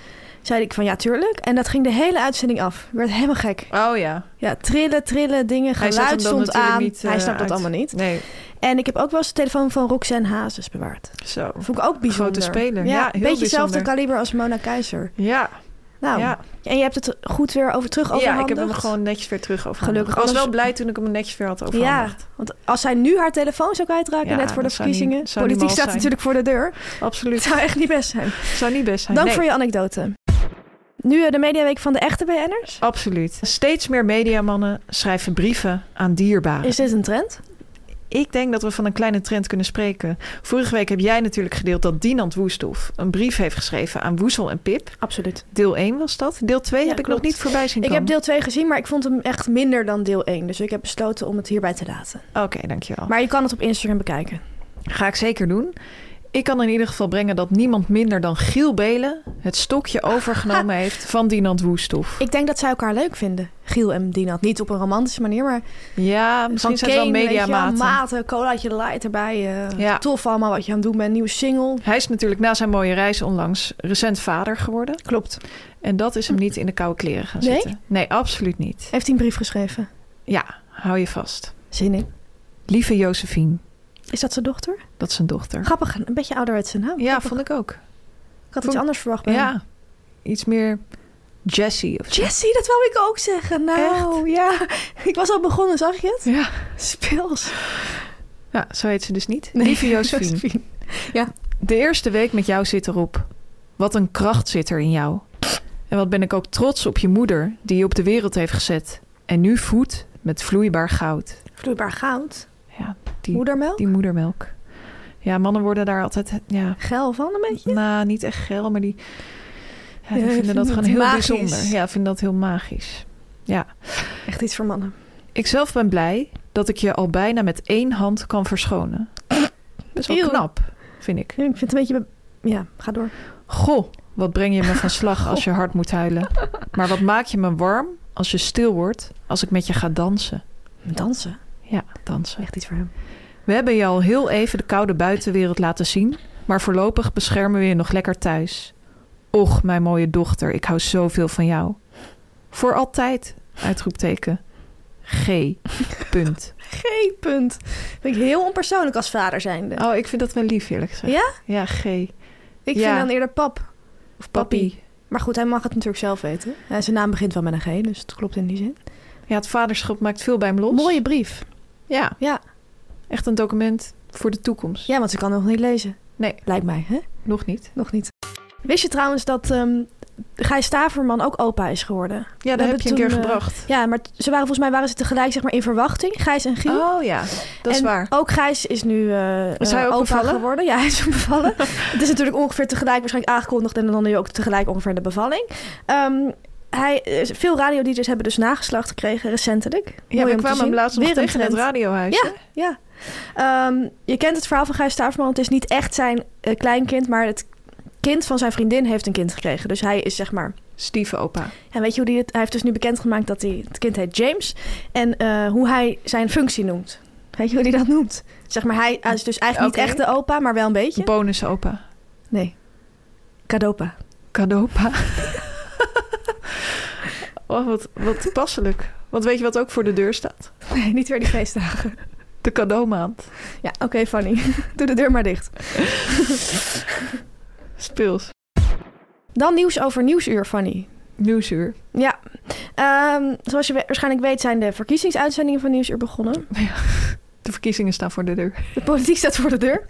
B: Zei ik van, ja, tuurlijk. En dat ging de hele uitzending af. Ik werd helemaal gek.
A: Oh ja.
B: Ja, trillen, trillen, dingen,
A: Hij zet hem
B: geluid
A: dan
B: stond
A: natuurlijk
B: aan.
A: niet, eh,
B: hij snapt
A: uit.
B: dat allemaal niet.
A: Nee,
B: En ik heb ook wel eens de telefoon van Roxanne Hazes bewaard.
A: zo.
B: Vond ik ook bijzonder.
A: speler. Ja, heel
B: een beetje hetzelfde
A: bijzonder.
B: kaliber als Mona Keizer.
A: Ja,
B: Nou,
A: Ja.
B: en je hebt het goed weer over terug overhandigd.
A: Ja, ik heb hem gewoon netjes weer terug overhandigd.
B: Gelukkig,
A: Ik was
B: anders-
A: wel blij toen ik hem netjes weer had
B: Ja,
A: overhandigd.
B: want als zij nu haar telefoon zou kwijtraken
A: Ja,
B: net voor de
A: dat zou niet-
B: verkiezingen.
A: zou niet
B: Politiek
A: mal
B: staat
A: zijn.
B: natuurlijk voor de deur. Het
A: Absoluut.
B: zou echt niet best zijn.
A: zou niet best zijn.
B: Dank
A: Nee,
B: voor je anekdote. Nu eh, de mediaweek van de echte BN'ers.
A: Absoluut. Steeds meer mediamannen schrijven brieven aan dierbaren.
B: Is dit een trend?
A: Ik denk dat we van een kleine trend kunnen spreken. Vorige week heb jij natuurlijk gedeeld dat Dinant Woesthof een brief heeft geschreven aan Woesel en Pip.
B: Absoluut.
A: Deel 1 was dat. Deel 2
B: Ja,
A: heb ik
B: klopt.
A: nog niet voorbij zien
B: Ik
A: komen.
B: heb deel 2 gezien, maar ik vond hem echt minder dan deel 1. Dus ik heb besloten om het hierbij te laten.
A: Oké, dankjewel.
B: Maar je kan het op Instagram bekijken.
A: Ga ik zeker doen. Ik kan in ieder geval brengen dat niemand minder dan Giel Belen het stokje overgenomen heeft van Dinant Woesthof.
B: Ik denk dat zij elkaar leuk vinden. Giel en Dinat. Niet op een romantische manier, maar
A: Ja,
B: van
A: misschien zijn het
B: Kane,
A: wel
B: weet je wel,
A: mediamaten.
B: maten, colaatje light erbij. eh
A: Ja.
B: Tof allemaal wat je aan het doen bent. Nieuwe single.
A: Hij is natuurlijk na zijn mooie reis onlangs recent vader geworden.
B: Klopt.
A: En dat is hem niet in de koude kleren gaan
B: Nee?
A: zitten. Nee, absoluut niet.
B: Heeft hij een brief geschreven?
A: Ja, hou je vast.
B: Zin in.
A: Lieve Josephine,
B: Is dat zijn dochter?
A: dat is zijn dochter.
B: Grappig, een beetje ouderwetse naam.
A: Ja, vond ik ook.
B: ik had
A: vond-
B: iets anders verwacht bij hem.
A: Ja, iets meer Jessie of zo.
B: Jessie, dat wou ik ook zeggen. Nou, ja. Ik was al begonnen, zag je het?
A: Ja.
B: Speels.
A: ja, zo heet ze dus niet.
B: Nee,
A: Lieve Josephine, De eerste week met jou zit erop. Wat een kracht zit er in jou. En wat ben ik ook trots op je moeder die je op de wereld heeft gezet. En nu voedt met vloeibaar goud.
B: Vloeibaar goud.
A: Ja, die,
B: Moedermelk.
A: die moedermelk. Ja, mannen worden daar altijd, ja,
B: Geil van een beetje.
A: nou, niet echt geil, maar die, ja, die
B: Ja,
A: vinden
B: vinden
A: dat
B: het
A: gewoon heel
B: magisch.
A: bijzonder. Ja, vinden dat heel magisch. Ja,
B: Echt iets voor mannen.
A: Ikzelf ben blij dat ik je al bijna met één hand kan verschonen. Best wel
B: Eeuw.
A: knap, vind ik.
B: Ik vind het een beetje... be- Ja, ga door.
A: Goh, wat breng je me van slag als je hard moet huilen. Maar wat maak je me warm als je stil wordt als ik met je ga dansen.
B: Dansen.
A: Ja, dansen.
B: Echt iets voor hem.
A: We hebben je al heel even de koude buitenwereld laten zien, maar voorlopig beschermen we je nog lekker thuis. Och, mijn mooie dochter, ik hou zoveel van jou. Voor altijd, uitroepteken. G. Punt.
B: G-punt. Vind ik heel onpersoonlijk als vader zijnde.
A: Oh, ik vind dat wel lief, eerlijk gezegd.
B: Ja?
A: Ja, G.
B: Ik
A: Ja.
B: vind dan eerder pap. Of papi.
A: Papi.
B: Maar goed, hij mag het natuurlijk zelf weten. En zijn naam begint wel met een G, dus het klopt in die zin.
A: Ja, het vaderschap maakt veel bij hem los.
B: Mooie brief.
A: Ja,
B: Ja.
A: echt een document voor de toekomst.
B: ja, want ze kan nog niet lezen.
A: Nee,
B: Lijkt mij, hè?
A: nog niet.
B: Nog niet. Wist je trouwens dat ehm Gijs Staverman ook opa is geworden?
A: Ja,
B: We
A: dat heb
B: hebben
A: je een keer
B: toen, eh,
A: gebracht.
B: Ja, maar t- ze waren volgens mij waren ze tegelijk zeg maar, in verwachting, Gijs en Giel.
A: Oh ja, dat is
B: En
A: waar.
B: Ook Gijs is nu eh
A: Is
B: eh,
A: hij ook
B: opa
A: bevallen?
B: geworden. Ja, hij is ook bevallen. het is natuurlijk ongeveer tegelijk waarschijnlijk aangekondigd en dan nu ook tegelijk ongeveer de bevalling. Ehm, hij, eh, veel radiodj's hebben dus nageslacht gekregen recentelijk.
A: Ja,
B: Mooi
A: we
B: om te
A: kwamen hem
B: zien.
A: laatst nog
B: Weer een
A: tegen in het
B: trend.
A: radiohuis.
B: Ja, ja. Ehm, je kent het verhaal van Gijs Staverman. Het is niet echt zijn eh, kleinkind, maar het kind van zijn vriendin heeft een kind gekregen. Dus hij is zeg maar
A: Stieve opa.
B: en weet je hoe die het, hij heeft dus nu bekendgemaakt dat hij, het kind heet James. En eh, hoe hij zijn functie noemt. Weet je hoe hij dat noemt? Zeg maar, hij, hij is dus eigenlijk
A: Oké.
B: niet echt de opa, maar wel een beetje.
A: Bonus opa.
B: Nee. Kadopa.
A: Cadeaupa. oh, wat, wat toepasselijk. Want weet je wat ook voor de deur staat?
B: Nee, niet weer die feestdagen.
A: De cadeaumaand.
B: Ja, oké, Fanny. Doe de deur maar dicht.
A: Speels.
B: Dan nieuws over Nieuwsuur, Fanny.
A: Nieuwsuur.
B: Ja. Ehm, zoals je we- waarschijnlijk weet zijn de verkiezingsuitzendingen van Nieuwsuur begonnen.
A: De verkiezingen staan voor de deur.
B: De politiek staat voor de deur.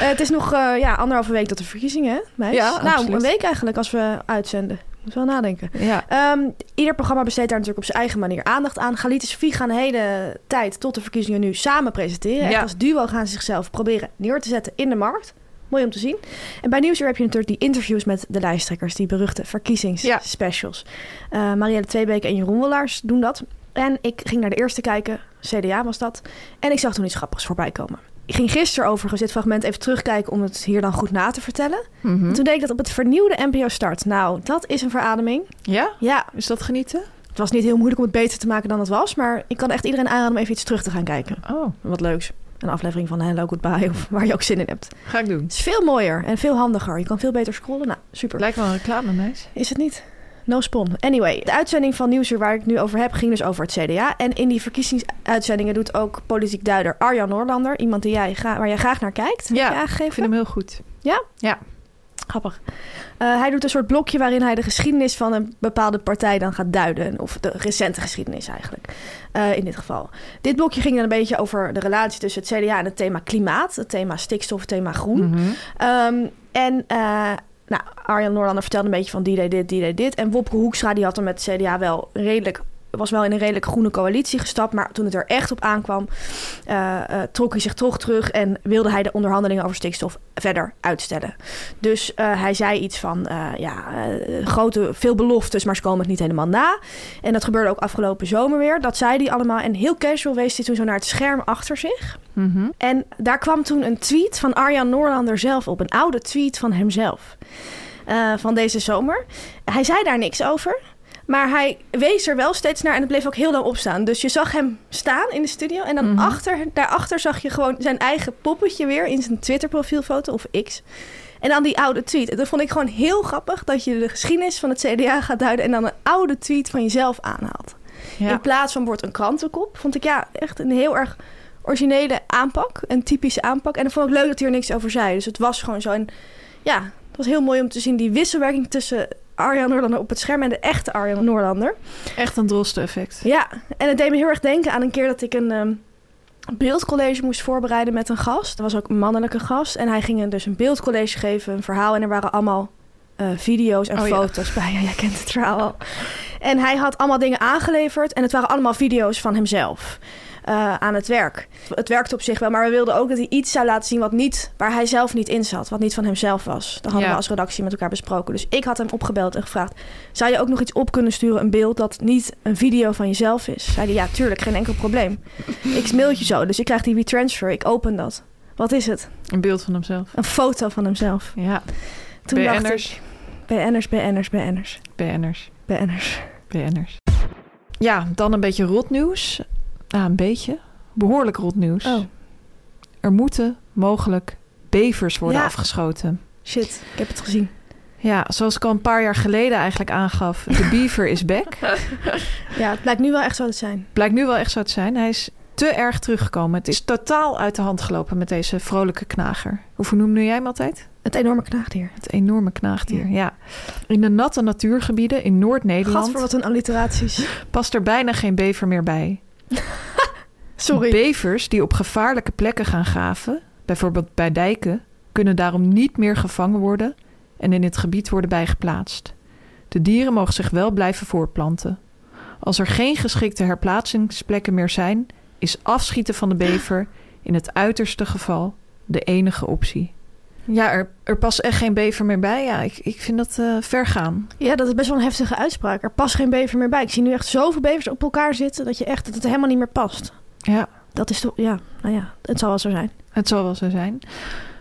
B: Eh, het is nog eh, ja, anderhalve week tot de verkiezingen, hè, meis?
A: Ja,
B: Nou,
A: absoluut.
B: een week eigenlijk als we uitzenden. Moet wel nadenken.
A: Ja.
B: Ehm, ieder programma besteedt daar natuurlijk op zijn eigen manier aandacht aan. Galit en Sofie gaan de hele tijd tot de verkiezingen nu samen presenteren. Echt
A: Ja.
B: Als duo gaan ze zichzelf proberen neer te zetten in de markt. Mooi om te zien. En bij Nieuwsuur heb je natuurlijk die interviews met de lijsttrekkers. Die beruchte
A: Ja.
B: verkiezingsspecials. Eh, Marielle Tweebeek en Jeroen Wollaars doen dat. En ik ging naar de eerste kijken. CDA was dat. En ik zag toen iets grappigs voorbij komen. Ik ging gisteren overigens dit fragment even terugkijken om het hier dan goed na te vertellen. En toen deed ik dat op het vernieuwde NPO Start. Nou, dat is een verademing.
A: Ja?
B: Ja,
A: Is dat genieten?
B: het was niet heel moeilijk om het beter te maken dan het was. Maar ik kan echt iedereen aanraden om even iets terug te gaan kijken.
A: Oh,
B: Wat leuks. Een aflevering van Hello Goodbye of waar je ook zin in hebt.
A: ga ik doen.
B: Het is veel mooier en veel handiger. Je kan veel beter scrollen. Nou, super.
A: Lijkt wel een reclame, meis.
B: Is het niet? No spon. Anyway, de uitzending van Nieuwsuur waar ik het nu over heb ging dus over het CDA. En in die verkiezingsuitzendingen doet ook politiek duider Arjan Noorlander. Iemand die jij gra- waar jij graag naar kijkt. heb
A: Ja,
B: je aangegeven.
A: Ik vind hem heel goed.
B: Grappig. Eh, hij doet een soort blokje waarin hij de geschiedenis van een bepaalde partij dan gaat duiden. Of de recente geschiedenis eigenlijk, eh, in dit geval. Dit blokje ging dan een beetje over de relatie tussen het CDA en het thema klimaat. Het thema stikstof, het thema groen. Ehm, en eh, nou, Arjan Noorlander vertelde een beetje van die deed dit, die deed dit. En Wopke Hoekstra die had dan met het CDA wel redelijk was wel in een redelijk groene coalitie gestapt, maar toen het er echt op aankwam, eh, eh, trok hij zich toch terug en wilde hij de onderhandelingen over stikstof verder uitstellen. Dus eh, hij zei iets van, eh, ja, eh, grote, veel beloftes, maar ze komen het niet helemaal na. En dat gebeurde ook afgelopen zomer weer. Dat zei hij allemaal. En heel casual wees hij toen zo naar het scherm achter zich. En daar kwam toen een tweet van Arjan Noorlander zelf op. Een oude tweet van hemzelf. eh, van deze zomer. Hij zei daar niks over. Maar hij wees er wel steeds naar en het bleef ook heel lang opstaan. Dus je zag hem staan in de studio. En dan achter, daarachter zag je gewoon zijn eigen poppetje weer in zijn Twitter profielfoto of X. En dan die oude tweet. En Dat vond ik gewoon heel grappig dat je de geschiedenis van het CDA gaat duiden en dan een oude tweet van jezelf aanhaalt. In
A: Ja.
B: plaats van wordt een krantenkop. Vond ik ja echt een heel erg originele aanpak. Een typische aanpak. En dan vond ik leuk dat hij er niks over zei. Dus het was gewoon zo. En ja, het was heel mooi om te zien die wisselwerking tussen Arjan Noorlander op het scherm en de echte Arjan Noorlander.
A: Echt een droste effect.
B: Ja, en het deed me heel erg denken aan een keer dat ik een ehm, beeldcollege moest voorbereiden met een gast. Dat was ook een mannelijke gast. En hij ging een- dus een beeldcollege geven, een verhaal. En er waren allemaal eh, video's en
A: Oh ja.
B: foto's bij. Ja, jij kent het verhaal al. En hij had allemaal dingen aangeleverd. En het waren allemaal video's van hemzelf. Eh, eh, aan het werk. Het werkte op zich wel, maar we wilden ook dat hij iets zou laten zien wat niet, waar hij zelf niet in zat. Wat niet van hemzelf was. Dat hadden
A: Ja.
B: we als redactie met elkaar besproken. Dus ik had hem opgebeld en gevraagd: Zou je ook nog iets op kunnen sturen? Een beeld dat niet een video van jezelf is? Zei hij: Ja, tuurlijk, geen enkel probleem. ik mail het je zo, dus ik krijg die retransfer. Ik open dat. Wat is het?
A: Een beeld van hemzelf.
B: Een foto van hemzelf.
A: Ja,
B: Toen dacht ik:
A: BN'ers.
B: BN'ers, BN'ers, BN'ers,
A: BN'ers.
B: BN'ers.
A: BN'ers. Ja, dan een beetje rotnieuws. Ah, een beetje. Behoorlijk rotnieuws.
B: Oh.
A: Er moeten mogelijk bevers worden
B: Ja.
A: afgeschoten.
B: Shit, ik heb het gezien.
A: Ja, zoals ik al een paar jaar geleden eigenlijk aangaf. De beaver is back.
B: Ja, het blijkt nu wel echt zo te zijn.
A: Blijkt nu wel echt zo te zijn. Hij is te erg teruggekomen. Het is totaal uit de hand gelopen met deze vrolijke knager. Hoe noemde jij hem altijd?
B: Het enorme knaagdier.
A: Het enorme knaagdier, ja. In de natte natuurgebieden in Noord-Nederland
B: Gadver, wat een alliteraties.
A: past er bijna geen bever meer bij.
B: Sorry.
A: Bevers die op gevaarlijke plekken gaan graven, bijvoorbeeld bij dijken, kunnen daarom niet meer gevangen worden en in het gebied worden bijgeplaatst. De dieren mogen zich wel blijven voortplanten. Als er geen geschikte herplaatsingsplekken meer zijn, is afschieten van de bever in het uiterste geval de enige optie. Ja, er, er past echt geen bever meer bij. Ja, ik, ik vind dat eh, ver gaan.
B: Ja, dat is best wel een heftige uitspraak. Er past geen bever meer bij. Ik zie nu echt zoveel bevers op elkaar zitten dat, je echt, dat het helemaal niet meer past.
A: Ja,
B: Dat is toch, ja, nou ja, het zal wel zo zijn.
A: het zal wel zo zijn.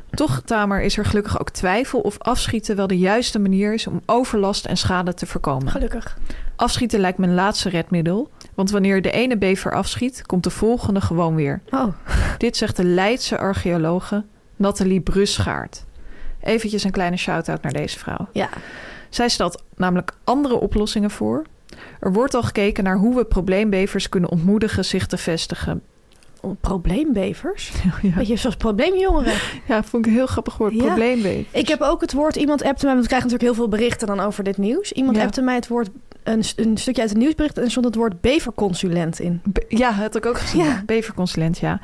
A: Toch, Tamer, is er gelukkig ook twijfel of afschieten wel de juiste manier is om overlast en schade te voorkomen.
B: Gelukkig.
A: Afschieten lijkt mijn laatste redmiddel, want wanneer je de ene bever afschiet, komt de volgende gewoon weer.
B: Oh,
A: Dit zegt de Leidse archeologe Nathalie Brusgaard. Eventjes een kleine shout-out naar deze vrouw.
B: ja.
A: Zij stelt namelijk andere oplossingen voor. Er wordt al gekeken naar hoe we probleembevers kunnen ontmoedigen zich te vestigen.
B: Probleembevers? Beetje zoals probleemjongeren.
A: Ja, vond ik een heel grappig woord,
B: Ja.
A: probleembever.
B: Ik heb ook het woord, iemand appte mij, want we krijgen natuurlijk heel veel berichten dan over dit nieuws. Iemand
A: Ja.
B: appte mij het woord, een, een stukje uit het nieuwsbericht en er stond het woord beverconsulent in.
A: Be- ja, had ik ook gezien.
B: Ja.
A: ja. Beverconsulent, ja.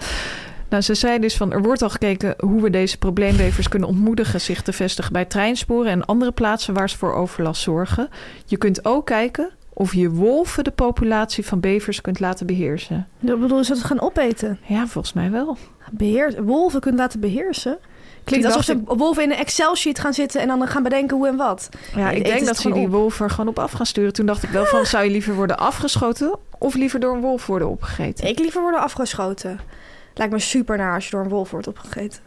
A: Nou, ze zei dus van, er wordt al gekeken hoe we deze probleembevers kunnen ontmoedigen zich te vestigen bij treinsporen en andere plaatsen waar ze voor overlast zorgen. Je kunt ook kijken of je wolven de populatie van bevers kunt laten beheersen.
B: Ik bedoel, ze het gaan opeten.
A: Ja, volgens mij wel.
B: Beheer, wolven kunnen laten beheersen. Klinkt
A: Toen
B: alsof ze
A: dacht
B: wolven in een Excel-sheet gaan zitten en dan gaan bedenken hoe en wat.
A: Ja,
B: Nee,
A: ik
B: het
A: denk
B: is
A: dat
B: het
A: ze
B: gewoon
A: die
B: op. Ah.
A: wolven er gewoon op af gaan sturen. Toen dacht ik wel van, zou je liever worden afgeschoten of liever door een wolf worden opgegeten?
B: Ik liever worden afgeschoten. Lijkt me super naar als je door een wolf wordt opgegeten.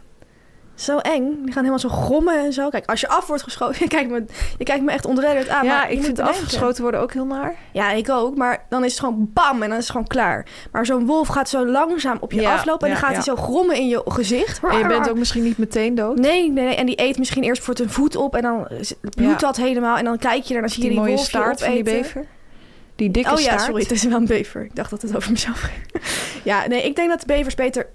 B: Zo eng. Die gaan helemaal zo grommen en zo. Kijk, als je af wordt geschoten, je kijkt me, je kijkt me echt ontredderd aan.
A: ja,
B: maar je
A: ik
B: moet
A: vind
B: bedenken.
A: afgeschoten worden ook heel naar.
B: Ja, ik ook. Maar dan is het gewoon bam en dan is het gewoon klaar. Maar zo'n wolf gaat zo langzaam op je
A: Ja,
B: aflopen en
A: ja,
B: dan gaat
A: ja.
B: hij zo grommen in je gezicht.
A: En je bent ook misschien niet meteen dood.
B: Nee, nee, nee, en die eet misschien eerst voor het een voet op en dan is- bloedt
A: Ja.
B: dat helemaal. En dan kijk je er en dan zie je
A: die
B: die
A: mooie
B: wolfje
A: staart van die
B: opeten.
A: bever. Die dikke
B: oh ja,
A: staart.
B: sorry, het is wel een bever. Ik dacht dat het over mezelf ging. ja, nee, ik denk dat bevers beter...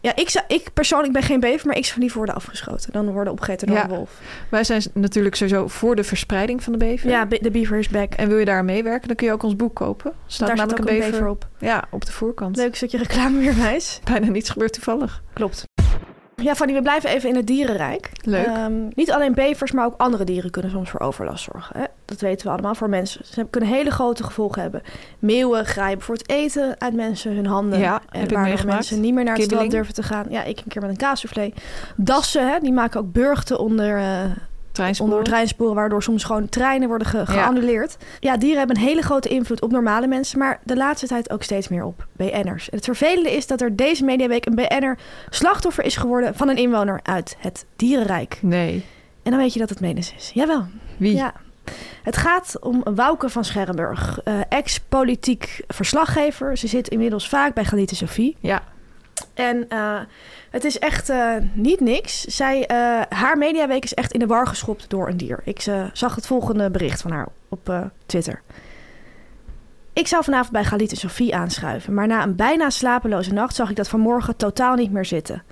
B: Ja, ik, zou, ik persoonlijk ben geen bever, maar ik zou liever worden afgeschoten dan worden opgegeten door
A: Ja.
B: een wolf.
A: Wij zijn natuurlijk sowieso voor de verspreiding van de bever.
B: Ja, be- de beaver is back.
A: En wil je daar aan meewerken, dan kun je ook ons boek kopen. Staat
B: Daar staat
A: namelijk
B: ook
A: een
B: een
A: bever,
B: bever op.
A: Ja, op de voorkant.
B: Leuk stukje reclame weer, meis.
A: Bijna niets gebeurt toevallig.
B: Klopt. Ja, Fanny, we blijven even in het dierenrijk.
A: Leuk.
B: Ehm, niet alleen bevers, maar ook andere dieren kunnen soms voor overlast zorgen. Hè? Dat weten we allemaal voor mensen. Ze kunnen hele grote gevolgen hebben. Meeuwen grijpen voor het eten uit mensen hun handen.
A: Ja,
B: en
A: heb ik
B: waardoor
A: meegemaakt.
B: mensen niet meer naar het strand
A: Kibbeling.
B: durven te gaan. Ja, ik een keer met een kaassoufflé. Dassen, hè, die maken ook burchten onder, eh, onder
A: Treinspoor.
B: treinsporen... waardoor soms gewoon treinen worden ge- geannuleerd. Ja, dieren hebben een hele grote invloed op normale mensen... maar de laatste tijd ook steeds meer op BN'ers. En het vervelende is dat er deze mediaweek een BN'er slachtoffer is geworden... van een inwoner uit het dierenrijk.
A: Nee.
B: En dan weet je dat het menens is. Jawel.
A: Wie?
B: Ja. Het gaat om Wouke van Scherrenburg, eh, ex-politiek verslaggever. Ze zit inmiddels vaak bij Galite Sophie.
A: Ja.
B: En eh, het is echt eh, niet niks. Zij, eh, haar mediaweek is echt in de war geschopt door een dier. Ik eh, zag het volgende bericht van haar op eh, Twitter. Ik zou vanavond bij Galite Sophie aanschuiven, maar na een bijna slapeloze nacht zag ik dat vanmorgen totaal niet meer zitten.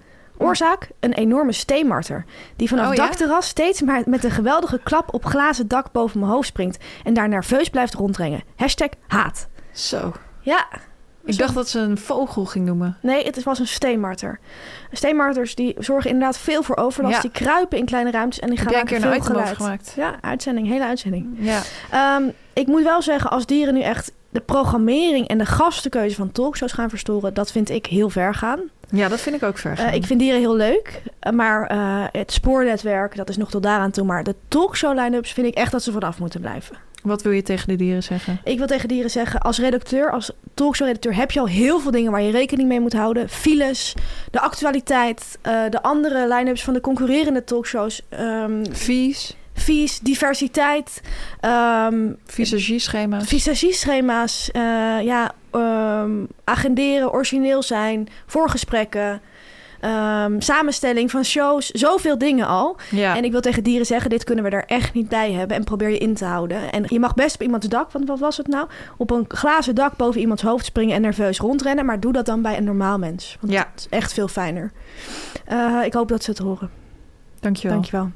B: Oorzaak? Een enorme steenmarter. Die vanaf
A: Oh ja?
B: dakterras steeds maar met een geweldige klap op glazen dak boven mijn hoofd springt. En daar nerveus blijft rondrengen. Hashtag haat.
A: Zo.
B: Ja,
A: Ik dacht dat ze een vogel ging noemen.
B: Nee, het was een steenmarter. Steenmarters die zorgen inderdaad veel voor overlast.
A: Ja.
B: Die kruipen in kleine ruimtes en die
A: Heb
B: gaan
A: jij een
B: maken
A: keer een
B: veel
A: item over
B: geluid.
A: gemaakt?
B: Ja, uitzending, hele uitzending.
A: Ja.
B: Ehm, ik moet wel zeggen, als dieren nu echt de programmering en de gastenkeuze van talkshows gaan verstoren, dat vind ik heel ver gaan.
A: Ja, dat vind ik ook ver.
B: Eh, ik vind dieren heel leuk, eh, maar eh, het spoornetwerk, dat is nog tot daaraan toe. Maar de talkshow line-ups vind ik echt dat ze vanaf moeten blijven.
A: Wat wil je tegen de dieren zeggen?
B: Ik wil tegen dieren zeggen, als redacteur, als talkshow-redacteur... heb je al heel veel dingen waar je rekening mee moet houden. Files, de actualiteit, eh, de andere line-ups van de concurrerende talkshows. ehm
A: Vies,
B: fees, diversiteit, ehm
A: visagieschema's.
B: visagieschema's, eh, ja, ehm, agenderen, origineel zijn, voorgesprekken... ehm, samenstelling van shows, zoveel dingen al.
A: Ja.
B: En ik wil tegen dieren zeggen, dit kunnen we er echt niet bij hebben. En probeer je in te houden. En je mag best op iemands dak, want wat was het nou? Op een glazen dak boven iemands hoofd springen en nerveus rondrennen. Maar doe dat dan bij een normaal mens. Want
A: Ja.
B: dat is echt veel fijner. Eh, ik hoop dat ze het horen.
A: Dankjewel.
B: Dankjewel.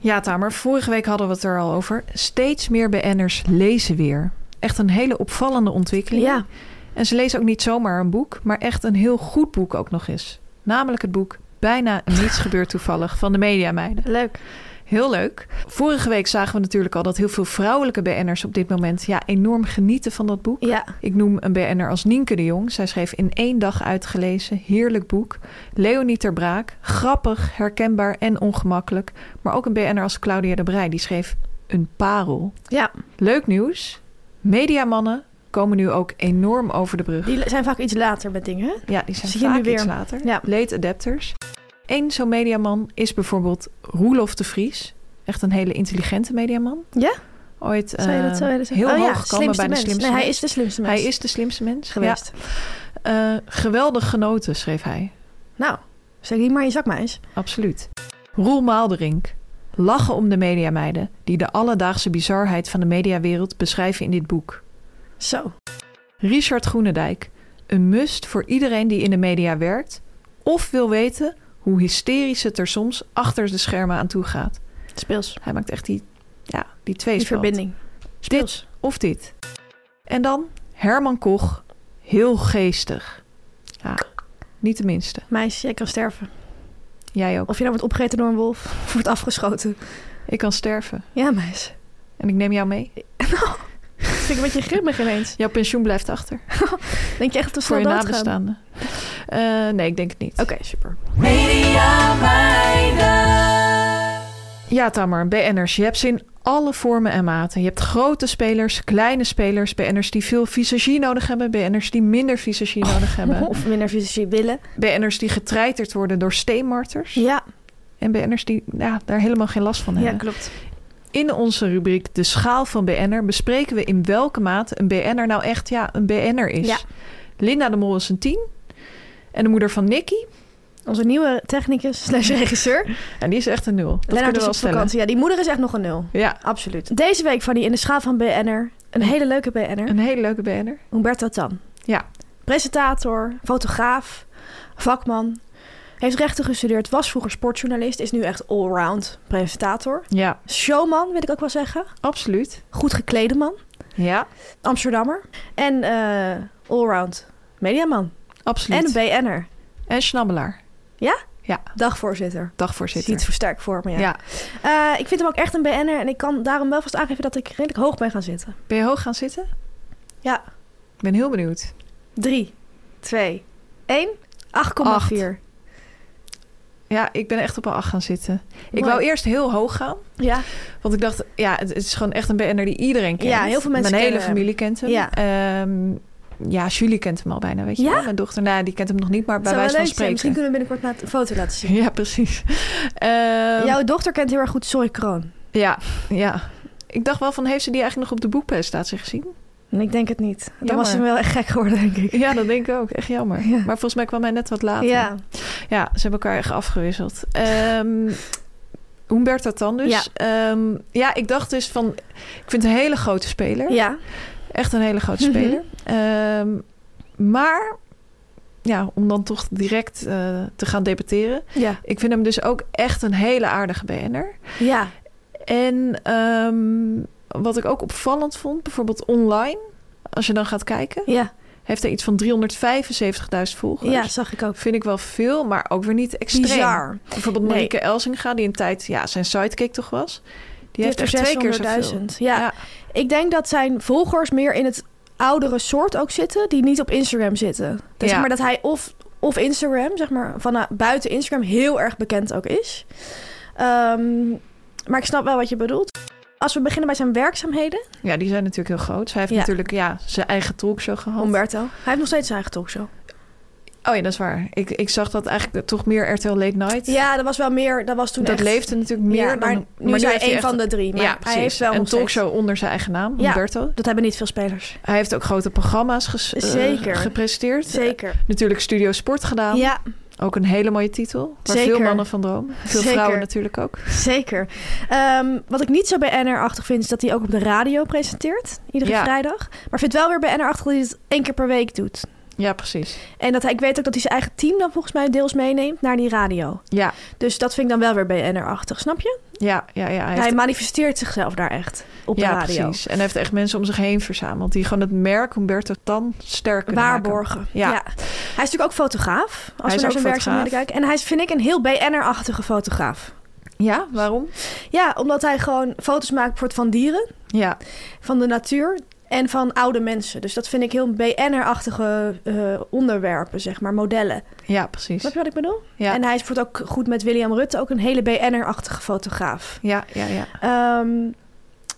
A: Ja, Tamer, vorige week hadden we het er al over. Steeds meer BN'ers lezen weer. Echt een hele opvallende ontwikkeling.
B: Ja.
A: En ze lezen ook niet zomaar een boek, maar echt een heel goed boek ook nog eens. Namelijk het boek Bijna Niets Gebeurt Toevallig van de Mediameiden.
B: Leuk.
A: Heel leuk. Vorige week zagen we natuurlijk al dat heel veel vrouwelijke BN'ers op dit moment ja, enorm genieten van dat boek.
B: Ja.
A: Ik noem een BN'er als Nienke de Jong. Zij schreef in één dag uitgelezen, heerlijk boek. Leonie ter Braak, grappig, herkenbaar en ongemakkelijk. Maar ook een BN'er als Claudia de Brij, die schreef een parel.
B: Ja,
A: Leuk nieuws, mediamannen komen nu ook enorm over de brug.
B: die zijn vaak iets later met dingen. hè?
A: Ja, die zijn
B: Zie je
A: vaak
B: nu weer.
A: iets later.
B: Ja.
A: Late adapters. Eén zo'n mediaman is bijvoorbeeld Roelof de Vries. Echt een hele intelligente mediaman.
B: Ja?
A: Ooit
B: Zou je
A: eh,
B: dat zo willen
A: heel
B: zeggen? Oh ja,
A: hoog gekomen bij de
B: mens.
A: slimste
B: Nee, hij
A: mens.
B: is de slimste mens
A: Hij is de slimste mens
B: geweest.
A: Ja. Eh, geweldig genoten, schreef hij.
B: Nou, zeg die maar in je zak, meis.
A: Absoluut. Roel Maalderink. Lachen om de mediameiden, die de alledaagse bizarheid van de mediawereld beschrijven in dit boek.
B: Zo.
A: Richard Groenendijk. Een must voor iedereen die in de media werkt of wil weten hoe hysterisch het er soms achter de schermen aan toe gaat.
B: Speels.
A: Hij maakt echt die, ja, die twee
B: Die verbinding.
A: Dit of dit. En dan Herman Koch, heel geestig. Ja, niet de minste.
B: Meis, jij kan sterven.
A: Jij ook.
B: Of je nou wordt opgegeten door een wolf of wordt afgeschoten.
A: Ik kan sterven.
B: Ja, meis.
A: En ik neem jou mee.
B: Dat vind ik een beetje grimmig ineens.
A: Jouw pensioen blijft achter.
B: Denk je echt dat we
A: Voor je
B: snel doodgaan?
A: nabestaanden. Eh, nee, ik denk het niet.
B: Oké, super.
A: Ja, Tamar, BN'ers. Je hebt ze in alle vormen en maten. Je hebt grote spelers, kleine spelers, BN'ers die veel visagie nodig hebben, BN'ers die minder visagie nodig hebben,
B: Of minder fysici willen.
A: BN'ers die getreiterd worden door steenmarters
B: Ja,
A: en BN'ers die ja, daar helemaal geen last van
B: ja,
A: hebben.
B: klopt.
A: in onze rubriek De Schaal van BN'er bespreken we in welke mate een BN'er nou echt ja, een BN'er is.
B: Ja.
A: Linda de Mol is een 10 en de moeder van Nicky,
B: Onze nieuwe technicus slash regisseur.
A: en die is echt een 0. Dat kunnen
B: Lennart
A: we
B: is
A: wel
B: op
A: stellen.
B: vakantie. Ja, die moeder is echt nog een nul.
A: Ja,
B: Absoluut. Deze week van die in de schaal van BN'er. Een hele leuke BN'er.
A: een hele leuke BN'er.
B: Humberto Tan.
A: Ja,
B: presentator, fotograaf, vakman. Heeft rechten gestudeerd, was vroeger sportjournalist, is nu echt allround presentator.
A: ja,
B: Showman, wil ik ook wel zeggen.
A: absoluut.
B: Goed geklede man.
A: Ja,
B: Amsterdammer. En eh allround mediaman.
A: absoluut.
B: En een BN'er.
A: En Schnabbelaar.
B: Ja?
A: Ja,
B: Dagvoorzitter.
A: dagvoorzitter.
B: Ziet voor sterk voor me, ja.
A: ja.
B: Eh, ik vind hem ook echt een BN'er en ik kan daarom wel vast aangeven dat ik redelijk hoog ben gaan zitten.
A: Ben je hoog gaan zitten?
B: Ja.
A: Ik ben heel benieuwd.
B: 3, 2, 1, 8,4.
A: Ja, ik ben echt op een 8 gaan zitten. Ik
B: Mooi.
A: wou eerst heel hoog gaan.
B: Ja.
A: Want ik dacht, ja, het het is gewoon echt een BN'er die iedereen kent.
B: Ja, heel veel mensen
A: Mijn hele
B: kennen hem.
A: familie kent hem.
B: Ja.
A: Ehm, ja, Julie kent hem al bijna, weet je
B: Ja?
A: wel. Mijn dochter, nou, die kent hem nog niet, maar bij
B: Zou wel
A: wijze
B: leuk
A: van
B: zijn. Misschien
A: spreken.
B: kunnen we binnenkort laat- een foto laten zien.
A: Ja, precies. Ehm,
B: Jouw dochter kent heel erg goed Sorry Kroon.
A: ja, ja. Ik dacht wel van, heeft ze die eigenlijk nog op de boekpresentatie gezien?
B: En ik denk het niet. Dan
A: Jammer.
B: was ze wel echt gek geworden, denk ik.
A: Ja, dat denk ik ook. Echt jammer. Maar volgens mij kwam hij net wat later.
B: Ja,
A: Ja, ze hebben elkaar echt afgewisseld. Ehm Humberto Tan dus. Ja. ja, ik dacht dus van... Ik vind het een hele grote speler.
B: ja. Mhm.
A: Echt een hele grote speler. Ehm, maar... Ja, om dan toch direct eh, te gaan debatteren.
B: ja.
A: Ik vind hem dus ook echt een hele aardige BN'er.
B: ja.
A: En ehm, wat ik ook opvallend vond, bijvoorbeeld online... Als je dan gaat kijken,
B: ja.
A: heeft hij iets van 375.000 volgers.
B: Ja, zag ik ook.
A: Vind ik wel veel, maar ook weer niet extreem.
B: Bizar.
A: Bijvoorbeeld
B: Nee.
A: Marieke Elsinga, die een tijd ja, zijn sidekick toch was. Die, heeft
B: er
A: echt twee keer
B: 600.000.
A: zoveel.
B: Ja. Ik denk dat zijn volgers meer in het oudere soort ook zitten die niet op Instagram zitten. Dus
A: Ja.
B: zeg maar dat hij of, of Instagram, zeg maar, van eh, buiten Instagram heel erg bekend ook is. Ehm, maar ik snap wel wat je bedoelt. Als we beginnen bij zijn werkzaamheden,
A: Ja, die zijn natuurlijk heel groot. Zij heeft
B: Ja.
A: natuurlijk ja, zijn eigen talkshow gehad.
B: Humberto, hij heeft nog steeds zijn eigen talkshow.
A: Oh ja, dat is waar. Ik, ik zag dat eigenlijk toch meer RTL Late Night.
B: Ja, dat was wel meer, dat was toen
A: dat
B: echt-
A: leefde natuurlijk meer
B: Ja,
A: dan...
B: maar nu is hij
A: heeft
B: één
A: echt-
B: van de drie, maar
A: ja,
B: hij
A: precies.
B: heeft wel
A: een
B: nog steeds-
A: talkshow onder zijn eigen naam,
B: Ja.
A: Humberto.
B: Dat hebben niet veel spelers.
A: Hij heeft ook grote programma's ges- eh,
B: Zeker.
A: gepresenteerd.
B: Zeker.
A: Natuurlijk Studio Sport gedaan.
B: Ja,
A: Ook een hele mooie titel. Waar
B: Zeker.
A: veel mannen van dromen. Veel
B: Zeker.
A: vrouwen natuurlijk ook.
B: Zeker. Ehm, wat ik niet zo bij NR-achtig vind, is dat hij ook op de radio presenteert. Iedere
A: Ja.
B: vrijdag. Maar vind wel weer bij NR-achtig dat hij het één keer per week doet.
A: Ja, precies.
B: En dat hij, ik weet ook dat hij zijn eigen team dan volgens mij deels meeneemt naar die radio.
A: Ja,
B: Dus dat vind ik dan wel weer bij NR-achtig, snap je?
A: ja, ja. ja. Hij
B: Hij,
A: heeft-
B: manifesteert zichzelf daar echt op
A: ja,
B: de radio.
A: precies. En hij heeft echt mensen om zich heen verzameld. Die gewoon het merk Humberto Tan sterk kunnen maken.
B: Waarborgen. Ja.
A: Ja.
B: Hij is natuurlijk ook fotograaf.
A: is
B: Als we
A: ook
B: naar zijn werkzaamheden
A: fotograaf.
B: kijken. En hij is, vind ik, een heel BNR-achtige fotograaf.
A: Ja, waarom?
B: Ja, omdat hij gewoon foto's maakt bijvoorbeeld van dieren.
A: Ja,
B: van de natuur en van oude mensen. Dus dat vind ik heel BN'er-achtige eh, onderwerpen, zeg maar, modellen.
A: ja precies.
B: Snap je wat ik bedoel?
A: Ja.
B: En hij is bijvoorbeeld ook goed met William Rutte, ook een hele BN'er-achtige fotograaf.
A: Ja, ja, ja.
B: Ehm,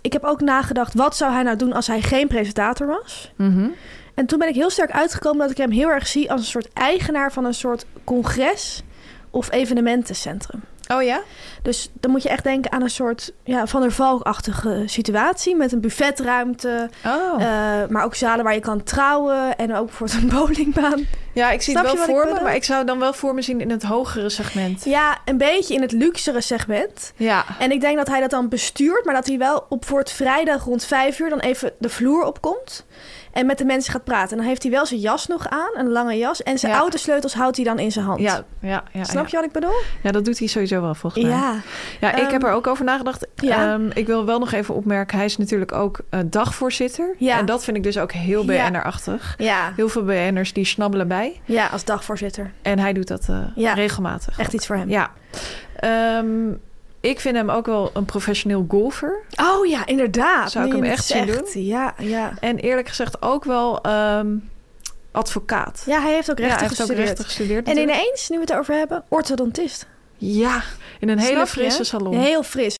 B: ik heb ook nagedacht, wat zou hij nou doen als hij geen presentator was?
A: Mhm.
B: En toen ben ik heel sterk uitgekomen dat ik hem heel erg zie als een soort eigenaar van een soort congres of evenementencentrum.
A: Oh ja?
B: Dus dan moet je echt denken aan een soort ja, van der Valk-achtige situatie met een buffetruimte.
A: Oh.
B: Eh, maar ook zalen waar je kan trouwen en ook voor een bowlingbaan.
A: ja, ik zie
B: snap
A: het
B: je
A: wel
B: wat ik
A: voor me,
B: bedoel?
A: maar ik zou het dan wel voor me zien in het hogere segment.
B: Ja, een beetje in het luxere segment.
A: Ja.
B: En ik denk dat hij dat dan bestuurt, maar dat hij wel op voor het vrijdag rond vijf uur dan even de vloer opkomt. En met de mensen gaat praten. En dan heeft hij wel zijn jas nog aan, een lange jas. En zijn
A: Ja.
B: autosleutels houdt hij dan in zijn hand.
A: Ja, ja, ja.
B: Snap je
A: ja.
B: wat ik bedoel?
A: Ja, dat doet hij sowieso wel volgens mij.
B: Ja.
A: Ja, ik heb
B: Ehm,
A: er ook over nagedacht.
B: ja.
A: Ehm, ik wil wel nog even opmerken, hij is natuurlijk ook eh, dagvoorzitter.
B: Ja.
A: En dat vind ik dus ook heel
B: Ja.
A: BN'er-achtig.
B: Ja.
A: Heel veel BN'ers die snabbelen bij.
B: ja, als dagvoorzitter.
A: En hij doet dat eh,
B: Ja.
A: regelmatig.
B: Echt iets voor hem.
A: Ja. Ehm, ik vind hem ook wel een professioneel golfer.
B: Oh ja, inderdaad.
A: Zou ik
B: Nu je
A: hem
B: het
A: echt zien
B: zegt. Ja, ja.
A: En eerlijk gezegd ook wel ehm, advocaat.
B: ja, hij heeft ook rechten
A: hij heeft ook
B: gestudeerd.
A: rechten gestudeerd
B: en
A: natuurlijk.
B: ineens, nu we het erover hebben, orthodontist.
A: Ja, in een hele
B: Snap je?
A: frisse salon.
B: Heel fris.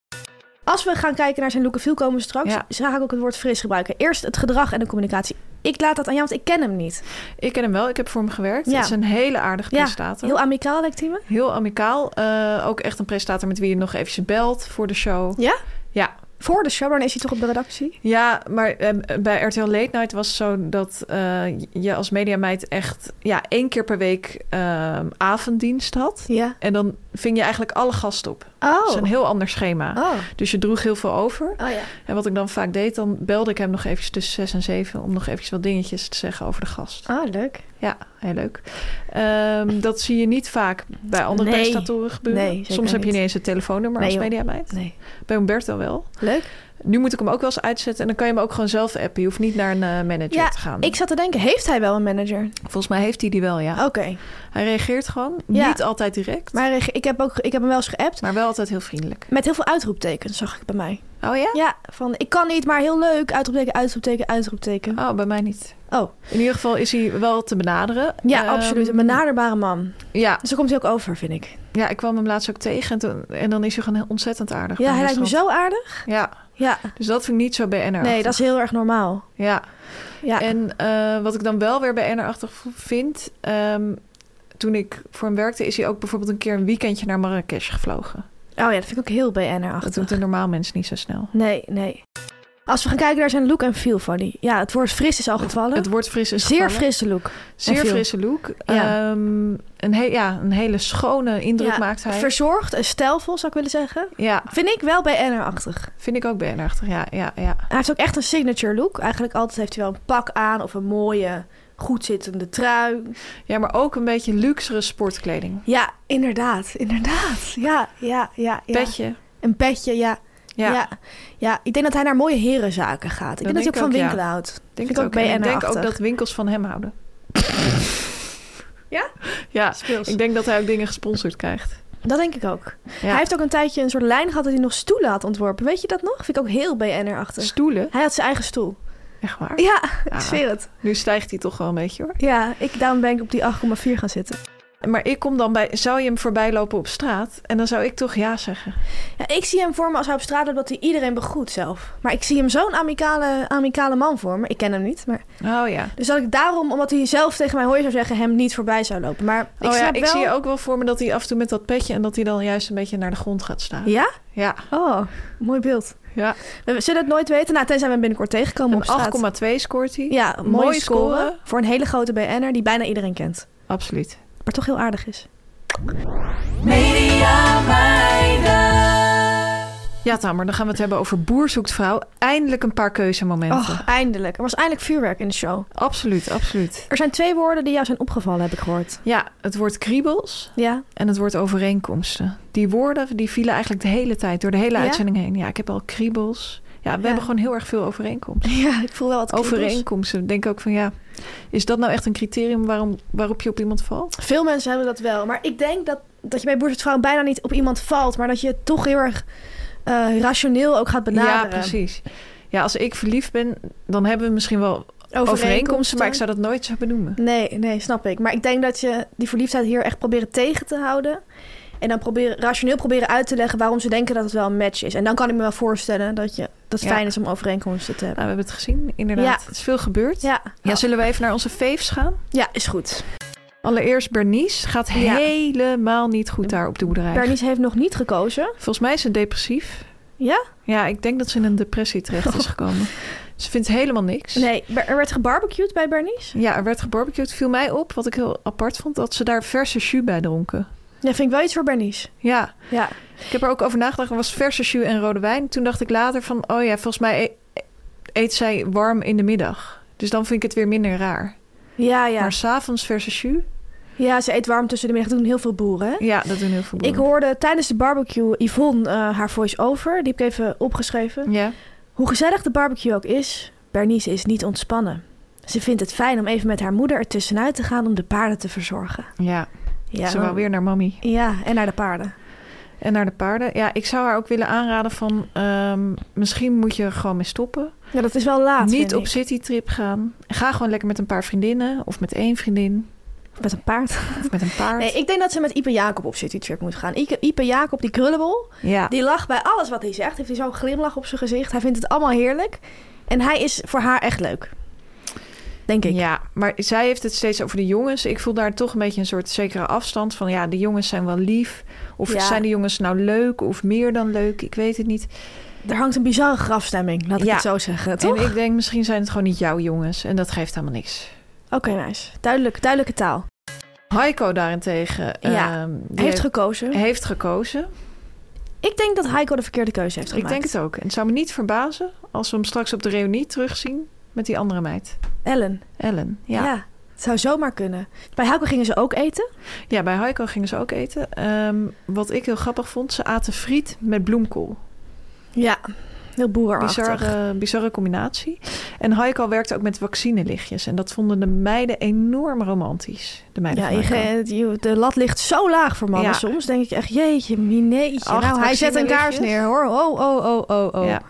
B: Als we gaan kijken naar zijn look en feel komen we straks, Dus
A: Ja.
B: ga ik ook het woord fris gebruiken. Eerst het gedrag en de communicatie. Ik laat dat aan jou, want ik ken hem niet.
A: Ik ken hem wel, ik heb voor hem gewerkt.
B: Ja.
A: Het is een hele aardige
B: Ja,
A: presentator.
B: heel amicaal lijkt hij me.
A: Heel amicaal. Eh, ook echt een presentator met wie je nog eventjes belt voor de show.
B: Ja?
A: Ja,
B: Voor de show, dan is hij toch op de redactie?
A: ja maar eh, bij RTL Late Night was het zo dat eh, je als mediameid echt ja, één keer per week eh, avonddienst had.
B: Ja.
A: En dan ving je eigenlijk alle gasten op.
B: Oh.
A: Dat is een heel ander schema.
B: Oh.
A: Dus je droeg heel veel over.
B: Oh ja.
A: En wat ik dan vaak deed, dan belde ik hem nog eventjes tussen zes en zeven... om nog eventjes wat dingetjes te zeggen over de gast.
B: Oh, leuk.
A: Ja, heel leuk. Ehm, dat zie je niet vaak bij andere
B: Nee.
A: presentatoren gebeuren.
B: Nee, zeker
A: Soms heb je
B: niet.
A: niet eens een telefoonnummer
B: Nee,
A: als
B: joh.
A: mediameid.
B: Nee.
A: Bij Humberto wel.
B: Leuk.
A: Nu moet ik hem ook wel eens uitzetten en dan kan je hem ook gewoon zelf appen. Je hoeft niet naar een eh, manager
B: Ja,
A: te gaan.
B: ik zat te denken, heeft hij wel een manager?
A: Volgens mij heeft hij die wel, ja.
B: Oké.
A: Hij reageert gewoon.
B: Ja.
A: Niet altijd direct, maar...
B: Maar reg- ik heb, ook, ik heb hem wel eens geappt.
A: wel altijd heel vriendelijk.
B: Met heel veel uitroeptekens zag ik bij mij.
A: Oh ja?
B: Ja, van ik kan niet, maar heel leuk. Uitroepteken, uitroepteken, uitroepteken.
A: Oh, bij mij niet.
B: Oh,
A: In ieder geval is hij wel te benaderen.
B: ja,
A: Ehm,
B: absoluut. Een benaderbare man.
A: Ja,
B: Dus daar komt hij ook over, vind ik.
A: ja, ik kwam hem laatst ook tegen en, toen- en dan is hij gewoon heel ontzettend aardig.
B: Ja,
A: bij
B: hij
A: een
B: lijkt me
A: restaurant.
B: zo aardig.
A: Ja,
B: Ja,
A: dus dat vind ik niet zo BNR.
B: nee, dat is heel erg normaal.
A: Ja,
B: Ja,
A: En eh, wat ik dan wel weer bij NR-achtig vind... ehm, toen ik voor hem werkte, is hij ook bijvoorbeeld een keer een weekendje naar Marrakesh gevlogen.
B: oh ja, dat vind ik ook heel BNR
A: Dat
B: achter.
A: doet een normaal mens niet zo snel.
B: Nee, nee. Als we gaan kijken naar zijn look en feel van die. Ja, het woord fris is al gevallen.
A: Het wordt fris is
B: Zeer
A: gevallen.
B: frisse look.
A: Zeer
B: en feel.
A: frisse look.
B: Ja.
A: Ehm, een, he- ja, een hele schone indruk
B: Ja,
A: maakt hij.
B: Verzorgd en stijlvol, zou ik willen zeggen.
A: ja,
B: Vind ik wel BNR-achtig.
A: vind ik ook BNR-achtig. Ja, ja, ja.
B: Hij heeft ook echt een signature look. Eigenlijk altijd heeft hij wel een pak aan of een mooie, goed zittende trui.
A: ja, maar ook een beetje luxere sportkleding.
B: Ja, inderdaad, inderdaad. Ja, ja, ja. ja.
A: Petje.
B: Een petje, ja.
A: Ja,
B: Ja. Ja. ik denk dat hij naar mooie herenzaken gaat. Ik
A: Dat
B: denk dat
A: denk
B: hij ook
A: ik
B: van
A: ook, ja.
B: winkelen houdt.
A: denk
B: Vind
A: ik
B: ik
A: ook.
B: ook
A: En ik denk
B: BNR-achtig.
A: ook dat winkels van hem houden.
B: Ja?
A: Ja,
B: Speels.
A: ik denk dat hij ook dingen gesponsord krijgt.
B: Dat denk ik ook.
A: Ja.
B: Hij heeft ook een tijdje een soort lijn gehad dat hij nog stoelen had ontworpen. Weet je dat nog? Vind ik ook heel BNR-achtig.
A: stoelen.
B: Hij had zijn eigen stoel.
A: Echt waar?
B: Ja, Ah. ik zweer het.
A: Nu stijgt hij toch wel een beetje hoor.
B: Ja, ik, daarom ben ik op die 8,4 gaan zitten.
A: Maar ik kom dan bij... Zou je hem voorbij lopen op straat? En dan zou ik toch ja zeggen.
B: Ja, ik zie hem voor me als hij op straat loopt dat hij iedereen begroet zelf. Maar ik zie hem zo'n amicale, amicale man voor me. Ik ken hem niet, maar...
A: Oh ja.
B: Dus dat ik daarom, omdat hij zelf tegen mij hoor je zou zeggen, hem niet voorbij zou lopen. Maar ik
A: oh, ja,
B: snap
A: ik
B: wel...
A: zie ook wel voor me dat hij af en toe met dat petje... en dat hij dan juist een beetje naar de grond gaat staan.
B: Ja?
A: Ja.
B: Oh, mooi beeld.
A: ja.
B: We zullen het nooit weten, nou, tenzij we hem binnenkort tegenkomen op straat.
A: Een 8,2 scoort hij.
B: Ja, mooie
A: Mooie
B: score.
A: score.
B: Voor een hele grote BN'er die bijna iedereen kent.
A: Absoluut.
B: Maar toch heel aardig is.
A: Ja, Tamer, dan gaan we het hebben over Boer zoekt vrouw. Eindelijk een paar keuzemomenten.
B: Och, Oh, eindelijk. Er was eindelijk vuurwerk in de show.
A: Absoluut, absoluut.
B: Er zijn twee woorden die jou zijn opgevallen, heb ik gehoord.
A: Ja, het woord kriebels
B: Ja?
A: en het woord overeenkomsten. Die woorden die vielen eigenlijk de hele tijd, door de hele
B: Ja?
A: uitzending heen. Ja, ik heb al kriebels. Ja, we
B: Ja.
A: hebben gewoon heel erg veel overeenkomsten.
B: Ja, ik voel wel wat kriebels.
A: Overeenkomsten. Denk ook van ja, is dat nou echt een criterium waarom, waarop je op iemand valt?
B: Veel mensen hebben dat wel. Maar ik denk dat, dat je bij boerzittvrouwen bijna niet op iemand valt. Maar dat je het toch heel erg eh, rationeel ook gaat benaderen.
A: Ja, precies. Ja, als ik verliefd ben, dan hebben we misschien wel overeenkomsten, maar ik zou dat nooit zo benoemen.
B: Nee, nee, snap ik. Maar ik denk dat je die verliefdheid hier echt proberen tegen te houden. En dan proberen, rationeel proberen uit te leggen waarom ze denken dat het wel een match is. En dan kan ik me wel voorstellen dat, je, dat het
A: Ja.
B: fijn is om overeenkomsten te hebben.
A: Nou, we hebben het gezien, inderdaad.
B: Ja.
A: Het is veel gebeurd.
B: Ja,
A: Ja, zullen we even naar onze faves gaan?
B: ja is goed.
A: Allereerst Bernice gaat
B: Ja.
A: helemaal niet goed daar op de boerderij.
B: Bernice heeft nog niet gekozen.
A: Volgens mij is ze depressief.
B: Ja?
A: Ja, ik denk dat ze in een depressie terecht is gekomen. Ze vindt helemaal niks.
B: Nee, Ber- er werd gebarbecued bij Bernice.
A: Ja, er werd gebarbecued. Viel mij op, wat ik heel apart vond, dat ze daar verse jus bij dronken.
B: Ja, vind ik wel iets voor Bernice.
A: Ja,
B: Ja,
A: ik heb er ook over nagedacht. Er was verse jus en rode wijn. Toen dacht ik later van, oh ja, volgens mij e- eet zij warm in de middag. Dus dan vind ik het weer minder raar.
B: ja,
A: Maar
B: ja.
A: Maar s'avonds verse jus?
B: Ja, ze eet warm tussen de middag. Dat doen heel veel boeren, hè?
A: Ja, dat doen heel veel
B: Ik
A: boeren.
B: hoorde tijdens de barbecue Yvonne eh, haar voice-over. Die heb ik even opgeschreven.
A: Ja.
B: Hoe gezellig de barbecue ook is, Bernice is niet ontspannen. Ze vindt het fijn om even met haar moeder ertussenuit te gaan om de paarden te verzorgen.
A: Ja,
B: Ja,
A: ze wou
B: dan-
A: weer naar mammy.
B: Ja, en naar de paarden.
A: En naar de paarden. Ja, ik zou haar ook willen aanraden van... ehm, misschien moet je er gewoon mee stoppen.
B: Ja, Ah, dat is wel laat. vind
A: Niet op
B: ik.
A: citytrip gaan. Ga gewoon lekker met een paar vriendinnen. Of met één vriendin.
B: Met een paard.
A: Of met een paard.
B: Nee, ik denk dat ze met Ipe Jacob op citytrip moet gaan. Ike- Ipe Jacob, die krullenbol,
A: ja.
B: die lacht bij alles wat hij zegt. Heeft hij zo'n glimlach op zijn gezicht. Hij vindt het allemaal heerlijk. En hij is voor haar echt leuk. Denk ik.
A: ja, maar zij heeft het steeds over de jongens. Ik voel daar toch een beetje een soort zekere afstand van. Ja, de jongens zijn wel lief. Of
B: Ja.
A: zijn de jongens nou leuk of meer dan leuk? Ik weet het niet.
B: Er hangt een bizarre grafstemming, laat ik
A: Ja.
B: het zo zeggen. Toch?
A: En ik denk, misschien zijn het gewoon niet jouw jongens. En dat geeft helemaal niks.
B: Oké, nice. Duidelijk, duidelijke taal.
A: Heiko daarentegen...
B: Ja,
A: ehm, die
B: heeft gekozen.
A: heeft gekozen.
B: Ik denk dat Heiko de verkeerde keuze heeft
A: Ik
B: gemaakt.
A: denk het ook. En het zou me niet verbazen als we hem straks op de reunie terugzien met die andere meid.
B: Ellen.
A: Ellen. Ja,
B: Ja.
A: ja.
B: het zou zomaar kunnen. Bij Heiko gingen ze ook eten.
A: bij Heiko gingen ze ook eten. Ehm, wat ik heel grappig vond, ze aten friet met bloemkool.
B: Ja, heel boerachtig.
A: Bizarre, bizarre combinatie. En Heiko werkte ook met vaccinelichtjes. En dat vonden de meiden enorm romantisch. De meiden
B: Ja,
A: van
B: je,
A: Heiko.
B: ge- je- de lat ligt zo laag voor mannen
A: Ja.
B: soms. Denk ik echt, jeetje, mineetje.
A: Acht
B: Nou, hij zet een kaars
A: vaccinelichtjes.
B: neer hoor. Oh, oh, oh, oh, oh.
A: Ja,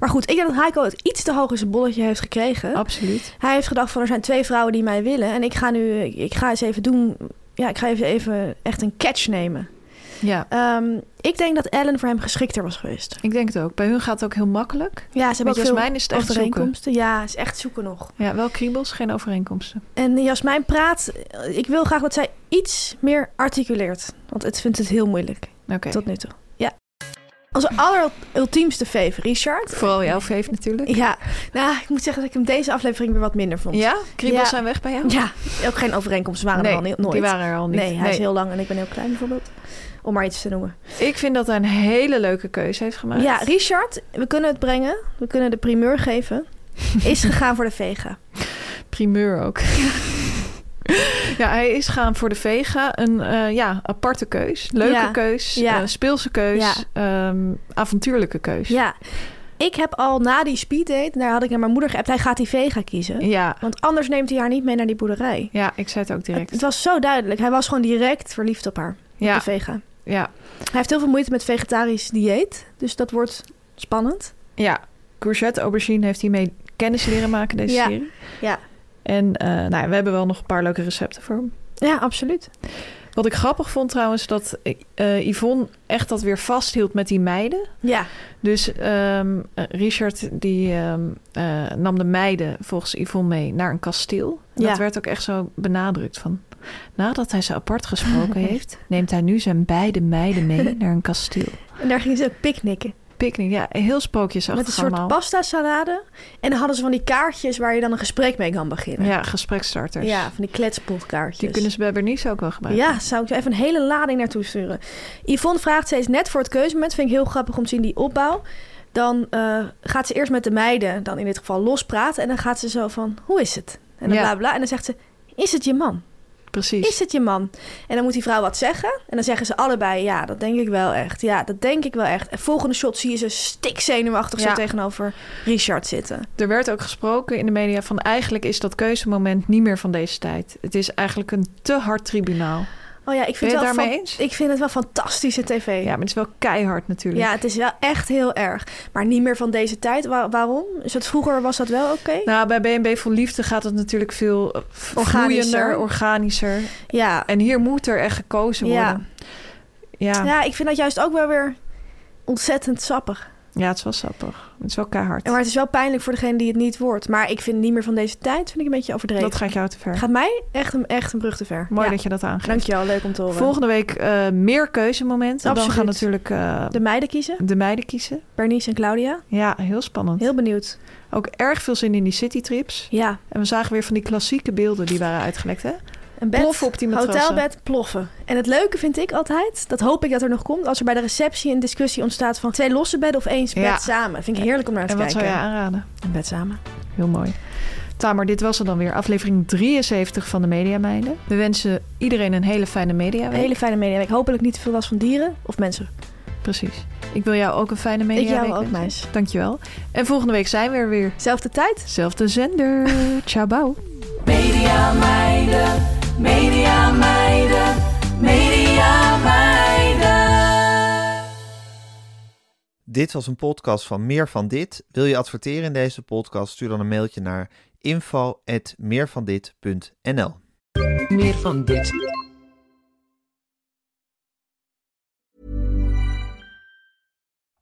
B: Maar goed, ik denk dat Heiko het iets te hoog in zijn bolletje heeft
A: eh,
B: gekregen.
A: absoluut.
B: Hij heeft gedacht van, er zijn twee vrouwen die mij willen. En ik ga nu, ik ga eens even doen... Ja, ik ga even, even echt een catch nemen.
A: Ja,
B: Ehm, ik denk dat Ellen voor hem geschikter was geweest.
A: ik denk het ook. Bij hun gaat het ook heel makkelijk.
B: Ja, ze
A: Maar
B: hebben ook
A: volgens
B: veel
A: mij is het echt zoeken.
B: overeenkomsten. Ja, het is echt zoeken nog.
A: Ja, wel kriebels, geen overeenkomsten.
B: En Jasmijn praat, eh, ik wil graag dat zij iets meer articuleert. Want het vindt het heel moeilijk
A: Oké.
B: tot nu toe. Ja. Onze allerultiemste fave, Richard.
A: Vooral jouw veef natuurlijk.
B: Ja, nou, ik moet zeggen dat ik hem deze aflevering weer wat minder vond.
A: Ja, kriebels
B: Ja.
A: zijn weg bij jou?
B: Ja, ook geen overeenkomsten waren er al niet, nooit.
A: die waren er al niet.
B: nee, hij is heel lang en ik ben heel klein bijvoorbeeld. Om maar iets te noemen.
A: Ik vind dat hij een hele leuke keuze heeft gemaakt.
B: Ja, Richard, we kunnen het brengen. We kunnen de primeur geven. Is gegaan voor de vega.
A: primeur ook. ja, hij is gaan voor de vega. Een eh, ja, aparte keus. Leuke
B: Ja.
A: keus.
B: Ja.
A: eh, speelse keus. ehm, avontuurlijke keus.
B: Ja, ik heb al na die speeddate, daar had ik naar mijn moeder geappt, hij gaat die vega kiezen.
A: ja.
B: Want anders neemt hij haar niet mee naar die boerderij.
A: Ja, ik zei het ook direct.
B: Het was zo duidelijk. Hij was gewoon direct verliefd op haar, op
A: Ja.
B: de vega.
A: Ja,
B: Hij heeft heel veel moeite met vegetarisch dieet, dus dat wordt spannend.
A: ja. courgette aubergine heeft hij mee kennis leren maken, deze
B: Ja.
A: serie.
B: Ja.
A: En eh, nou, ja, we hebben wel nog een paar leuke recepten voor hem.
B: Ja, absoluut.
A: Wat ik grappig vond trouwens, dat eh, Yvonne echt dat weer vasthield met die meiden.
B: Ja,
A: Dus ehm, eh, Richard die ehm, eh, nam de meiden volgens Yvonne mee naar een kasteel. En
B: Ja.
A: Dat werd ook echt zo benadrukt van... Nadat hij ze apart gesproken heeft, neemt hij nu zijn beide meiden mee naar een kasteel.
B: en daar gingen ze ook picknicken.
A: Picknick, ja, heel spookjesachtig
B: Met een soort
A: allemaal.
B: pasta salade. En dan hadden ze van die kaartjes waar je dan een gesprek mee kan beginnen.
A: Ja, gesprekstarters.
B: Ja, van die kletspotkaartjes.
A: Die kunnen ze bij Bernice ook wel gebruiken.
B: Ja, zou ik zo even een hele lading naartoe sturen. Yvonne vraagt steeds net voor het keuzemoment. Vind ik heel grappig om te zien die opbouw. Dan eh, gaat ze eerst met de meiden, dan in dit geval lospraten. En dan gaat ze zo van, hoe is het? En dan
A: Ja.
B: bla bla. En dan zegt ze, is het je man?
A: Precies.
B: Is het je man? En dan moet die vrouw wat zeggen. En dan zeggen ze allebei, ja, dat denk ik wel echt. Ja, dat denk ik wel echt. En volgende shot zie je ze stikzenuwachtig zo
A: Ja.
B: tegenover Richard zitten.
A: Er werd ook gesproken in de media van eigenlijk is dat keuzemoment niet meer van deze tijd. Het is eigenlijk een te hard tribunaal.
B: Oh ja,
A: Ben
B: ik vind,
A: je
B: het
A: het
B: wel
A: daarmee
B: fan-
A: eens?
B: ik vind het wel fantastische tv.
A: Ja, maar het is wel keihard natuurlijk.
B: Ja, het is wel echt heel erg. Maar niet meer van deze tijd. Wa- waarom? Is het vroeger was dat wel oké?
A: Nou, bij BNB Vol Liefde gaat het natuurlijk veel eh, v-
B: Organischer.
A: vloeiender, organischer.
B: ja.
A: En hier moet er echt gekozen
B: Ja.
A: worden. Ja, ja.
B: ja, ik vind dat juist ook wel weer ontzettend sappig.
A: het is wel sappig. Het is wel keihard.
B: En Maar het is wel pijnlijk voor degene die het niet wordt. Maar ik vind niet meer van deze tijd vind ik een beetje overdreven.
A: Dat gaat jou te ver.
B: Gaat mij echt een, echt een brug te ver.
A: Mooi
B: Ja.
A: dat je dat aangeeft.
B: Dankjewel, leuk om te horen.
A: Volgende week eh, meer keuzemomenten.
B: Absoluut.
A: Dan gaan natuurlijk eh,
B: De meiden kiezen.
A: de meiden kiezen.
B: Bernice en Claudia.
A: Ja, heel spannend.
B: Heel benieuwd.
A: Ook erg veel zin in die citytrips.
B: Ja,
A: En we zagen weer van die klassieke beelden die waren uitgelekt, hè?
B: een bed,
A: Ploffen op die matrassen.
B: hotelbed, ploffen. En het leuke vind ik altijd, dat hoop ik dat er nog komt... als er bij de receptie een discussie ontstaat van twee losse bedden of één bed
A: Ja.
B: samen. Vind ik heerlijk om naar te
A: En wat
B: kijken.
A: zou je Oh, aanraden?
B: Een bed samen.
A: Heel mooi. Tamer, dit was er dan weer. Aflevering 73 van de Media Meiden. We wensen iedereen een hele fijne
B: Een
A: mediaweek.
B: hele fijne mediaweek. Hopelijk niet te veel last van dieren of mensen.
A: Precies. Ik wil jou ook een fijne media.
B: jou ook, meis.
A: Dankjewel. En volgende week zijn we er weer.
B: Zelfde tijd.
A: Zelfde zender. Ciao, bouw.
C: Media meiden, media meiden, media meiden.
D: Dit was een podcast van Meer van Dit. Wil je adverteren in deze podcast? Stuur dan een mailtje naar info.meervandit.nl
E: Meer van dit.